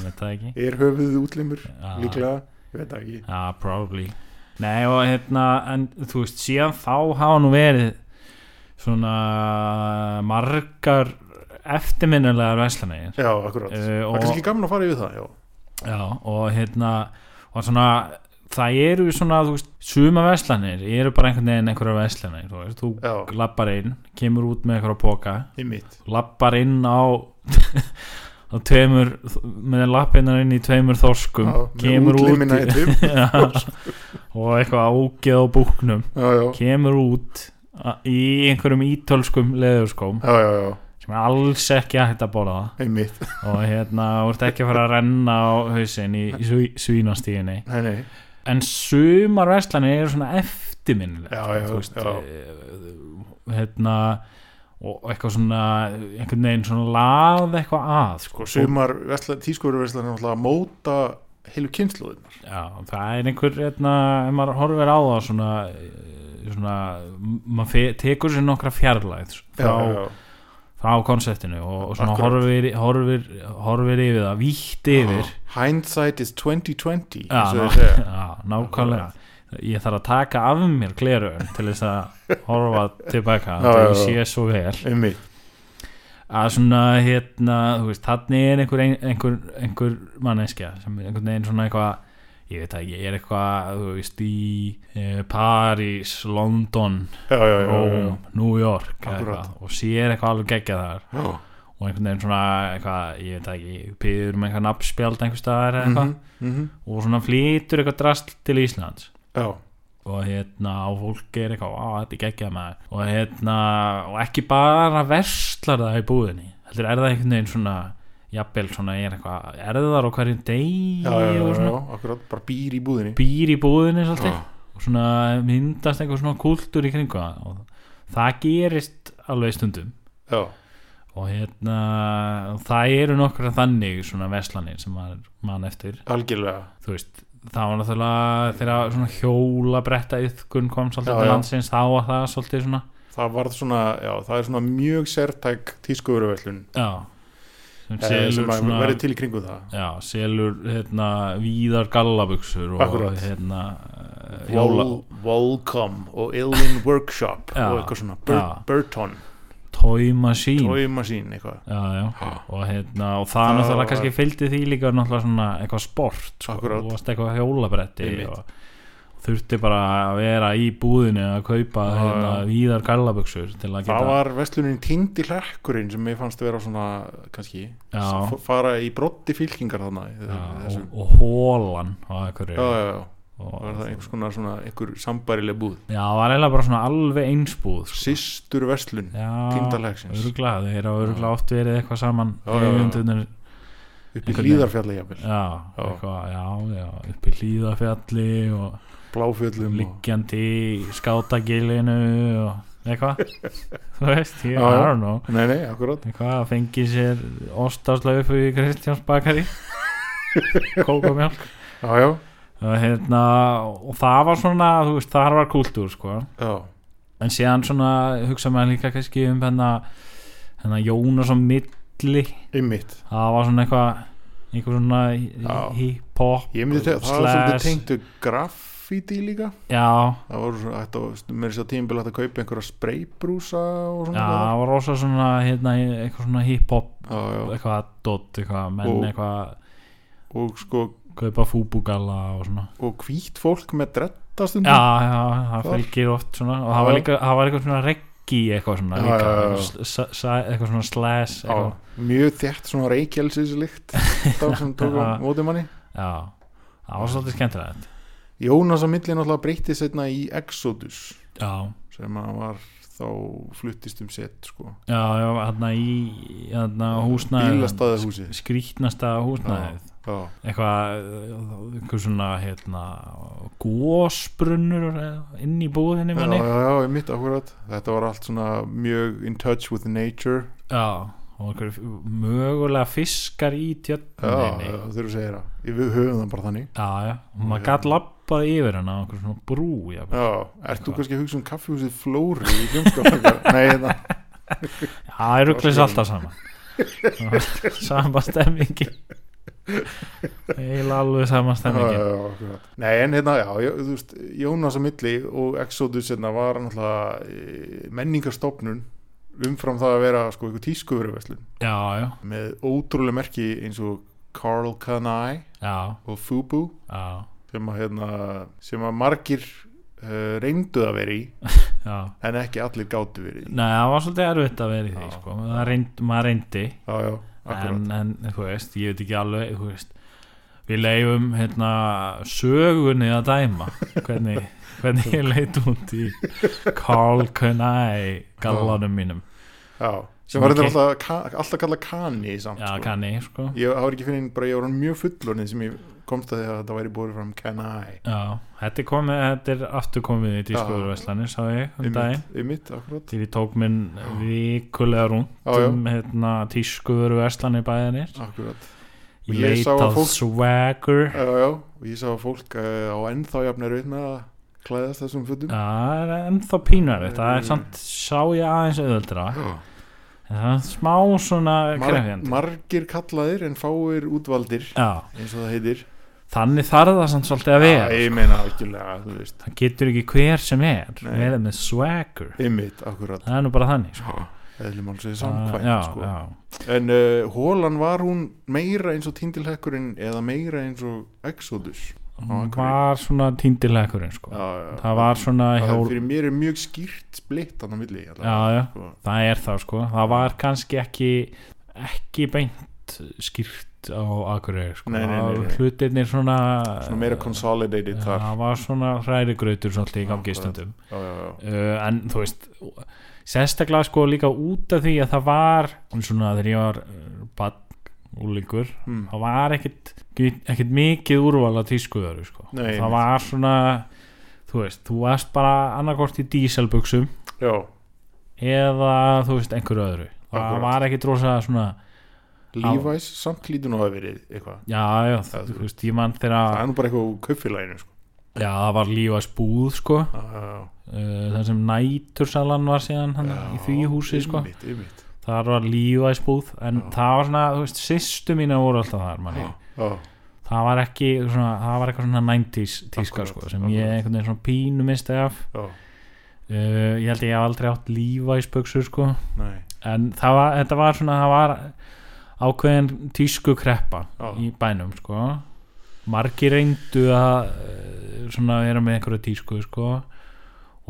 Speaker 6: Já, veit það ekki
Speaker 5: er höfuð útlimur,
Speaker 6: Já.
Speaker 5: líklega ég veit það ekki
Speaker 6: Já, probably Nei, og hérna, en þú veist, síðan þá hafa nú verið svona margar eftirminnilegar veslanegir
Speaker 5: já, akkurat,
Speaker 6: Eh,
Speaker 5: það
Speaker 6: og-
Speaker 5: er kannski gaman að fara yfir það já,
Speaker 6: Já, og hérna og svona, það eru svona þú veist, suma veslanir eru bara einhvern veginn einhverjar veslanir, þú veist, þú
Speaker 5: Já.
Speaker 6: lappar inn, kemur út með einhverja póka
Speaker 5: einmitt
Speaker 6: lappar inn á á tveimur með lappinnar inn í tveimur þorskum
Speaker 5: Já, með
Speaker 6: kemur út
Speaker 5: útlimina í tveimur
Speaker 6: og eitthvað ágeð á búknum
Speaker 5: já, já,
Speaker 6: kemur út a- í einhverjum ítölskum leðurskóm
Speaker 5: já, já, já,
Speaker 6: sem er alls ekki að hætta að borða
Speaker 5: einmitt
Speaker 6: og hérna, þú ert ekki að fara að renna á hausinn í, í sví, svínastíðinni
Speaker 5: nei, nei,
Speaker 6: en sumar verslanir eru svona eftirminnilega
Speaker 5: Já, já, já.
Speaker 6: eh, hérna og eitthvað svona einhvern veginn svona lað eitthvað að sko.
Speaker 5: og sumar tískóðurverslanir náttúrulega móta heilu kynnslóðin
Speaker 6: já, það er einhver hérna, ef maður horfir á það svona, eh, svona maður fe- tekur sér nokkra fjarlæð frá,
Speaker 5: já, já, já,
Speaker 6: frá konseptinu og, og svona
Speaker 5: Akkurat.
Speaker 6: horfir, horfir, horfir yfir það, vítt yfir
Speaker 5: Hindsight is
Speaker 6: Já,
Speaker 5: 2020 eins
Speaker 6: ná,
Speaker 5: og þeir segja.
Speaker 6: já, nákvæmlega ég þarf að taka af mér glerun til þess að horfa tilbaka
Speaker 5: Já,
Speaker 6: það
Speaker 5: já, já.
Speaker 6: sé svo vel
Speaker 5: Einmitt.
Speaker 6: að svona hérna þú veist, þannig er einhver, einhver, einhver manneskja sem er einhvern veginn svona eitthvað ég veit ekki, er eitthvað þú veist í eh, París, London
Speaker 5: Já, já, já, já, já.
Speaker 6: Róm, New York eða
Speaker 5: Akkúrat.
Speaker 6: eitthvað, og sér eitthvað alveg geggja þar
Speaker 5: Já.
Speaker 6: og einhvern veginn svona eitthvað, ég veit ekki, piður um eitthvað nafnspjald einhver staðar eða eitthvað
Speaker 5: Mhm.
Speaker 6: og svona flýtur eitthvað drast til Íslands
Speaker 5: Já,
Speaker 6: og hérna og fólk er eitthvað á þetta er geggjað maður og hérna og ekki bara verslar það í búðinni heldur er það einhvern veginn svona jafnvel svona er eitthvað erðar á hverjum degi
Speaker 5: já, já, já,
Speaker 6: og
Speaker 5: já,
Speaker 6: svona
Speaker 5: já, akkurat, bara býr í búðinni
Speaker 6: býr í búðinni svolítið
Speaker 5: Já.
Speaker 6: og svona myndast einhver svona kultúr í kringu það og það gerist alveg stundum
Speaker 5: Já,
Speaker 6: og hérna og það eru nokkra þannig svona verslanir sem maður mann eftir
Speaker 5: algjörlega
Speaker 6: þú veist það var náttúrulega þegar svona hjólabretta yfkun kom svolítið
Speaker 5: Já,
Speaker 6: til
Speaker 5: já.
Speaker 6: landsins þá var það svolítið svona
Speaker 5: Það varð svona, já, það er svona mjög sértæk tískuveruverslun
Speaker 6: já sem
Speaker 5: eh, sem
Speaker 6: selur
Speaker 5: að
Speaker 6: svona
Speaker 5: verði til í kringum það
Speaker 6: já, selur hérna víðar gallabuxur og
Speaker 5: Akkúrat.
Speaker 6: hérna eh, jóla
Speaker 5: Wall- Wallcom og Illin Workshop
Speaker 6: Já.
Speaker 5: og eitthvað svona
Speaker 6: Já.
Speaker 5: Bur Burton,
Speaker 6: toy machine
Speaker 5: Toy Machine eitthvað
Speaker 6: já, já og hérna og það
Speaker 5: Það
Speaker 6: náttúrulega
Speaker 5: var-
Speaker 6: kannski fylgdi því líka náttúrulega svona eitthvað sport sko,
Speaker 5: Akkúrat.
Speaker 6: þú varst eitthvað hjólabretti
Speaker 5: Einmitt.
Speaker 6: og þurfti bara að vera í búðinu að kaupa
Speaker 5: Já,
Speaker 6: hérna
Speaker 5: já.
Speaker 6: víðar gallabuxur til að
Speaker 5: Það
Speaker 6: geta
Speaker 5: var verslunin tengd í hrekkurinn sem ég fannst vera svona, kannski
Speaker 6: Já.
Speaker 5: f- fara í brotti fylkingar þarna í
Speaker 6: Já,
Speaker 5: þessu.
Speaker 6: og, og hólan og einhverju
Speaker 5: Já, já, já,
Speaker 6: og,
Speaker 5: það var það einhvers konar svona einhver sambærileg búð
Speaker 6: já, það var eiginlega bara svona alveg einsbúð sko.
Speaker 5: Sistur verslun
Speaker 6: já,
Speaker 5: týndalegsins.
Speaker 6: öruglega, þeir eru öruglega oft verið eitthvað saman
Speaker 5: Já, já, já.
Speaker 6: eigendurnir-
Speaker 5: upp í
Speaker 6: Einhvern
Speaker 5: hlýðarfjalli jafnvel
Speaker 6: já,
Speaker 5: Já.
Speaker 6: eitthvað, já, já, upp í hlýðafjalli og
Speaker 5: bláfjöllum og...
Speaker 6: liggjandi í skátagilinu og eitthvað þú veist, ég,
Speaker 5: Já, já.
Speaker 6: I don't know
Speaker 5: Nei, nei, akkurat
Speaker 6: eitthvað að fengi sér ostaslaufu í Kristjáns bakari kókumjálk
Speaker 5: Já, já,
Speaker 6: og, hérna, og það var svona þú veist, það var kultúr sko
Speaker 5: já,
Speaker 6: en síðan svona hugsa maður líka kannski um hérna, hérna Jónas á milli
Speaker 5: ymmit
Speaker 6: það var svona eitthvað einhver svona
Speaker 5: Já.
Speaker 6: hi- hip-hop
Speaker 5: Ég myndi þetta, það var svolítið
Speaker 6: slash-
Speaker 5: tengdu graffíti líka
Speaker 6: já,
Speaker 5: Það voru svona, þetta var mér þess að tímabil hægt að kaupa einhverja spraybrúsa og
Speaker 6: já,
Speaker 5: svona
Speaker 6: það var rosa svona hérna, eitthvað svona hip-hop
Speaker 5: Já, já,
Speaker 6: eitthvað dot, eitthvað menn
Speaker 5: Og-
Speaker 6: eitthvað
Speaker 5: og sko
Speaker 6: kaupa fúbúgalla og svona
Speaker 5: og hvít fólk með drettastundum
Speaker 6: já, já, það
Speaker 5: Þar.
Speaker 6: fylgir oft svona og
Speaker 5: Mhm. Já,
Speaker 6: það var
Speaker 5: já.
Speaker 6: líka, það var eitthvað svona reggi eitthvað svona
Speaker 5: Já,
Speaker 6: líka,
Speaker 5: já, já, já.
Speaker 6: Eitthvað, s- s- eitthvað svona slash
Speaker 5: Já,
Speaker 6: eitthvað.
Speaker 5: mjög þétt svona reykjelsislikt það sem tók á
Speaker 6: Já.
Speaker 5: móti manni
Speaker 6: já, það var svolítið skemmtilegt
Speaker 5: Jónas að milli náttúrulega breytti setna í Exodus
Speaker 6: já,
Speaker 5: sem að var þá fluttist um set sko
Speaker 6: Já, já, hérna í hérna húsnæði
Speaker 5: Bílastæðahúsið.
Speaker 6: Skrýtnasta húsnæðið
Speaker 5: Já,
Speaker 6: Eitthvað, eitthvað svona hérna, gósbrunnur inn í búðinni
Speaker 5: já,
Speaker 6: manni
Speaker 5: já, já, ég mitt akkurat Þetta var allt svona mjög in touch with nature
Speaker 6: Já, og einhver mögulega fiskar í
Speaker 5: Já,
Speaker 6: tjötninni
Speaker 5: já, þegar þú segir það Ég- Við höfum það bara þannig
Speaker 6: Já, já, og maður gætt labbað yfir hana á einhver svona brú já.
Speaker 5: Já, ert þú
Speaker 6: Eitthvað.
Speaker 5: kannski að hugsa um kaffihúsið Flóri í Hljómskapingar? Nei, hérna,
Speaker 6: Já, það er rugglis alltaf saman Sama stemmingi Eila alveg sama
Speaker 5: já, já,
Speaker 6: stemmingi
Speaker 5: já, akkurat. Nei, en hérna, já, já, þú veist Jónas á milli og Exodus hérna var náttúrulega eh, menningarstofnun umfram það að vera sko eitthvað tískuveruverslun
Speaker 6: Já, já,
Speaker 5: með ótrúlega merki eins og Carl Kanai
Speaker 6: já,
Speaker 5: og Fubu
Speaker 6: já,
Speaker 5: sem að, hérna, sem að margir uh, reyndu að vera í
Speaker 6: já.
Speaker 5: en ekki allir gátu verið í.
Speaker 6: Nei, það var svolítið erfitt að vera í því
Speaker 5: Já.
Speaker 6: sko. maður, reynd, maður reyndi
Speaker 5: Já, já, akkurat.
Speaker 6: en, en þú veist, ég veit ekki alveg þú veist, við leifum hérna, sögunni að dæma hvernig, hvernig ég leit út í Carl Kunai gallanum mínum
Speaker 5: já,
Speaker 6: Sem
Speaker 5: sem var
Speaker 6: ég
Speaker 5: þetta
Speaker 6: kei-
Speaker 5: alltaf, ka- alltaf kallað Kani samt.
Speaker 6: Já,
Speaker 5: sko.
Speaker 6: kanni, sko
Speaker 5: Ég hafa ekki finninn, bara ég var hann mjög fullorinn sem ég komst að því að þetta væri búið fram Kanai.
Speaker 6: Já, þetta er, komið, þetta er aftur komið í dískoðurverslanir, sá ég um daginn
Speaker 5: Í mitt, akkurat.
Speaker 6: til ég tók minn vikulega rúnt
Speaker 5: Já, já.
Speaker 6: um hérna, tískuðurverslanir bæðinir
Speaker 5: Akkurat. Og ég
Speaker 6: leit
Speaker 5: sá að
Speaker 6: að
Speaker 5: fólk-
Speaker 6: swagger
Speaker 5: Já, já, og ég sá að fólk uh, á ennþá jafnir við að klæðast þessum fötum.
Speaker 6: Já, það er ennþá pínverið Það er samt, sá ég aðeins auðvöldra það er smá svona
Speaker 5: Mar
Speaker 6: krefjandi
Speaker 5: margir kallaðir en fáir útvaldir
Speaker 6: Já,
Speaker 5: eins og það heitir
Speaker 6: þannig þarf það samt svolítið að
Speaker 5: Já,
Speaker 6: vera
Speaker 5: ég meina algjörlega, þú veist
Speaker 6: það getur ekki hver sem er
Speaker 5: Nei.
Speaker 6: verið með swagger
Speaker 5: einmitt, akkurat,
Speaker 6: það er nú bara þannig sko.
Speaker 5: eðlum alveg samkvæmt
Speaker 6: já,
Speaker 5: sko.
Speaker 6: já.
Speaker 5: en uh, hólan var hún meira eins og tindilhekkurinn eða meira eins og Exodus á
Speaker 6: Hún
Speaker 5: Akureyri?
Speaker 6: var svona tindilegurinn sko.
Speaker 5: já, já,
Speaker 6: það var svona
Speaker 5: Það
Speaker 6: hjól
Speaker 5: fyrir mér er mjög skýrt splitt hann á milli allavega,
Speaker 6: Já, já.
Speaker 5: sko.
Speaker 6: það er það sko það var kannski ekki ekki beint skýrt á Akureyri sko.
Speaker 5: Nei, nei, nei, nei.
Speaker 6: Það var hlutirnir svona,
Speaker 5: svona meira consolidated þar
Speaker 6: það var svona hrærigrautur svolítið í gangi
Speaker 5: Akkurat.
Speaker 6: stundum
Speaker 5: já, já, já.
Speaker 6: uh, en þú veist sérstaklega sko líka út af því að það var svona þegar ég var eh, bann úlingur
Speaker 5: Mm.
Speaker 6: það var ekkit, ekkit mikið úrval að tískuðaru sko
Speaker 5: Nei,
Speaker 6: það
Speaker 5: einmitt.
Speaker 6: var svona þú veist, þú varst bara annarkort í díselbuxum
Speaker 5: já,
Speaker 6: eða þú veist einhverju öðru það
Speaker 5: Akkurat.
Speaker 6: var ekkit rosa svona
Speaker 5: Levi's samt lítið nú að verið eitthvað
Speaker 6: já, já,
Speaker 5: Það-
Speaker 6: þú veist, ég mann
Speaker 5: það
Speaker 6: þegar
Speaker 5: er nú bara eitthvað úr kaupfélaginu sko.
Speaker 6: já, það var lífast búð sko uh,
Speaker 5: já, já, já.
Speaker 6: þar sem nætursalan var síðan hann, í því húsi sko
Speaker 5: einmitt, einmitt.
Speaker 6: þar var lífæsbúð en
Speaker 5: Já.
Speaker 6: það var svona, þú veist, sýstu mína voru alltaf þar manni,
Speaker 5: Já,
Speaker 6: það var ekki svona, það var eitthvað svona 90s tíska
Speaker 5: Akkurat,
Speaker 6: sko, sem
Speaker 5: akkurat.
Speaker 6: ég einhvern veginn svona pínu misti af
Speaker 5: já,
Speaker 6: uh, ég held að ég hef aldrei átt lífæsbuksur sko,
Speaker 5: nei
Speaker 6: en það var, þetta var svona, það var ákveðin tísku kreppa
Speaker 5: Já.
Speaker 6: í bænum sko margir reyndu að uh, svona vera með einhverju tísku sko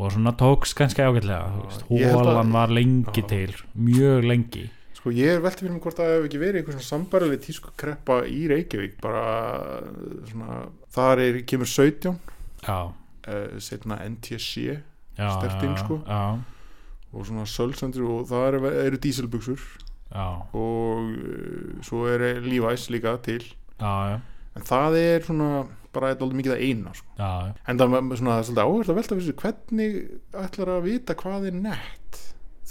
Speaker 6: og svona tókst kannski ágætlega þú veist,
Speaker 5: Ég held að-
Speaker 6: hólan var lengi
Speaker 5: Já.
Speaker 6: til mjög lengi
Speaker 5: Sko ég er veltið fyrir mig hvort það hefur ekki verið einhver svona sambærileg tísku kreppa í Reykjavík bara uh, svona þar er, kemur eh, 17 uh,
Speaker 6: já,
Speaker 5: setna NTC
Speaker 6: já,
Speaker 5: Sterkt inn,
Speaker 6: já,
Speaker 5: sko.
Speaker 6: já,
Speaker 5: og svona sölsendur og það eru, eru díselbuxur
Speaker 6: já,
Speaker 5: og uh, svo er Levi's líka til
Speaker 6: já, já,
Speaker 5: en það er svona bara eitthvað mikið að eina sko.
Speaker 6: já,
Speaker 5: en það er svona það er svolítið áherslu að velta fyrir sér hvernig ætlar að vita hvað er nett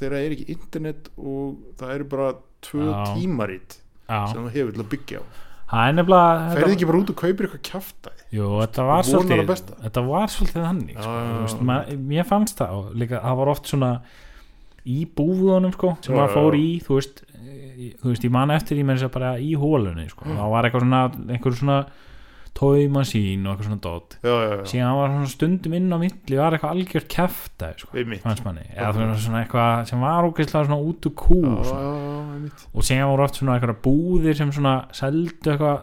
Speaker 5: þegar það er ekki internet og það eru bara tvö
Speaker 6: Já.
Speaker 5: tímarit
Speaker 6: já.
Speaker 5: sem það hefur til að byggja á
Speaker 6: það er nefnilega
Speaker 5: ferði ekki bara út og kaupir eitthvað kjaftaði
Speaker 6: jú, þetta var
Speaker 5: vonar að
Speaker 6: svolítið
Speaker 5: besta.
Speaker 6: þetta var svolítið þannig
Speaker 5: Já,
Speaker 6: sko,
Speaker 5: já,
Speaker 6: þú
Speaker 5: já,
Speaker 6: veist,
Speaker 5: já.
Speaker 6: maður- mér fannst það og líka, það var oft svona í búðunum sko, sem
Speaker 5: Já,
Speaker 6: maður
Speaker 5: já,
Speaker 6: fór
Speaker 5: já.
Speaker 6: í þú veist, eh, þú veist, ég man eftir ég með þess að segja bara í hólunni sko. það var eitthvað svona, eitthvað svona tóimasín og eitthvað svona dót
Speaker 5: já, já, já,
Speaker 6: síðan var svona stundum inn á milli var eitthvað algjör kæfta sko,
Speaker 5: Einmitt.
Speaker 6: fannst manni eða þú veist svona eitthvað sem var ógeðslega svona út úr sko. kú
Speaker 5: já,
Speaker 6: svona.
Speaker 5: já, já, einmitt.
Speaker 6: og síðan voru oft svona eitthvað búðir sem svona seldu eitthvað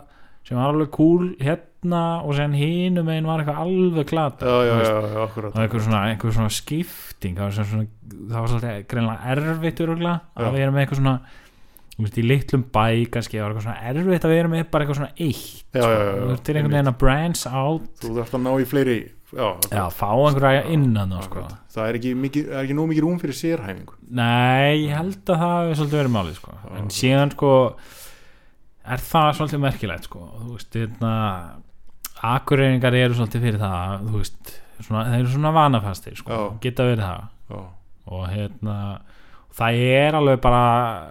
Speaker 6: sem var alveg cool hérna og síðan hinum einn var eitthvað alveg glata
Speaker 5: já, já,
Speaker 6: Þú
Speaker 5: já,
Speaker 6: veist,
Speaker 5: já, já, akkurat
Speaker 6: og einhver svona, einhver svona skipting það var, svona, svona, það var svolítið greinlega erfitt örugla,
Speaker 5: Já.
Speaker 6: að vera með eitthvað svona þú veist, í litlum bæ kannski það var eitthvað svona erfitt að vera með bara eitthvað svona eitt
Speaker 5: Já, já, já, já,
Speaker 6: þú veist, til einhvern veginn að branch out
Speaker 5: þú þarfst að ná í fleiri já,
Speaker 6: já, fá einhverja innan þá, sko.
Speaker 5: akkurat. það er ekki, mikið, er ekki nóg mikið rúm fyrir sérhæfingu
Speaker 6: Nei, ég held að það hefur svolítið verið málið sko. en síðan sko er það svolítið merkilegt sko. þú veist, þetta akureyringar eru svolítið fyrir það þú veist, svona, þeir eru svona vanafastir sko.
Speaker 5: Já.
Speaker 6: geta verið það
Speaker 5: já,
Speaker 6: og hérna það er alveg bara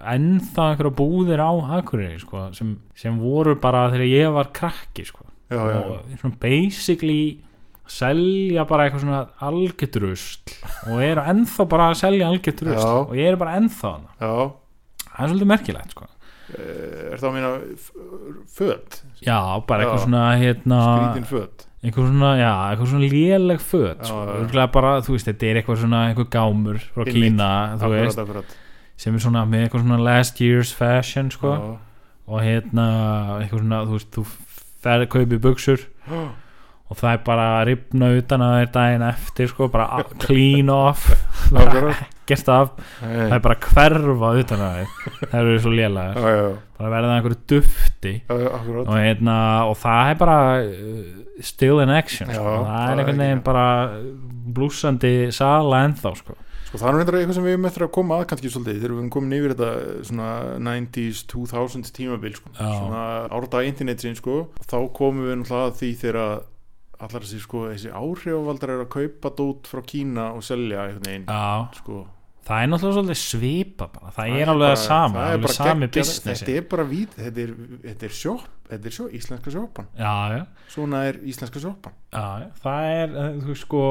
Speaker 6: ennþá einhverja búðir á akureyri sko, sem, sem voru bara þegar ég var krakki sko.
Speaker 5: já, já, já.
Speaker 6: og svona basically selja bara eitthvað svona algjört rusl og eru ennþá bara að selja algjört rusl
Speaker 5: Já.
Speaker 6: og ég er bara ennþá hana
Speaker 5: já.
Speaker 6: það er svolítið merkilegt sko
Speaker 5: Eh, er það að meina f- föt
Speaker 6: já, bara eitthvað
Speaker 5: Já.
Speaker 6: svona hérna,
Speaker 5: skrítin föt
Speaker 6: eitthvað svona, já, eitthvað svona léleg föt,
Speaker 5: Já,
Speaker 6: sko,
Speaker 5: já.
Speaker 6: örgulega bara þú veist, þetta er eitthvað svona, eitthvað gámur frá
Speaker 5: Einmitt.
Speaker 6: Kína, þú
Speaker 5: Akkurat,
Speaker 6: veist,
Speaker 5: akkurat.
Speaker 6: sem er svona með eitthvað svona last year's fashion, sko
Speaker 5: Já.
Speaker 6: og hérna, eitthvað svona, þú veist, þú ferð, kaupir buksur og það er bara að ripna utan að þér daginn eftir sko, bara a- clean off bara
Speaker 5: Akkurat.
Speaker 6: ekkert af
Speaker 5: Nei.
Speaker 6: það er bara að hverfa utan að þér það eru svo lélega,
Speaker 5: Já, já, já.
Speaker 6: bara verða að einhverju dufti
Speaker 5: Já, já, akkurat.
Speaker 6: og, hérna, og það er bara uh, still in action
Speaker 5: Já,
Speaker 6: sko. það
Speaker 5: það er
Speaker 6: er einhvern
Speaker 5: ekki-
Speaker 6: veginn bara blúsandi sala ennþá sko.
Speaker 5: Sko, það er reyndar eitthvað sem við möttum að koma að kannski svolítið þegar við erum komin yfir þetta eh, svona 90s, 2000s tímabil sko.
Speaker 6: Já.
Speaker 5: svona árdaga internetsin sko. þá komum við náttúrulega að því þegar að allar þessi, sko, þessi áhrifavaldar eru að kaupa dót frá Kína og selja einhvern veginn
Speaker 6: Já,
Speaker 5: sko.
Speaker 6: það er náttúrulega svolítið svipa bara. það
Speaker 5: Það
Speaker 6: er alveg
Speaker 5: bara-
Speaker 6: það sama,
Speaker 5: það er
Speaker 6: alveg
Speaker 5: bara
Speaker 6: sami
Speaker 5: geggjað-
Speaker 6: businessi
Speaker 5: þetta er bara vít, þetta er, þetta er sjópp þetta er sjó, íslenska sjópan
Speaker 6: já, já
Speaker 5: svona er íslenska sjópan
Speaker 6: Já, það er, eh, þú veist sko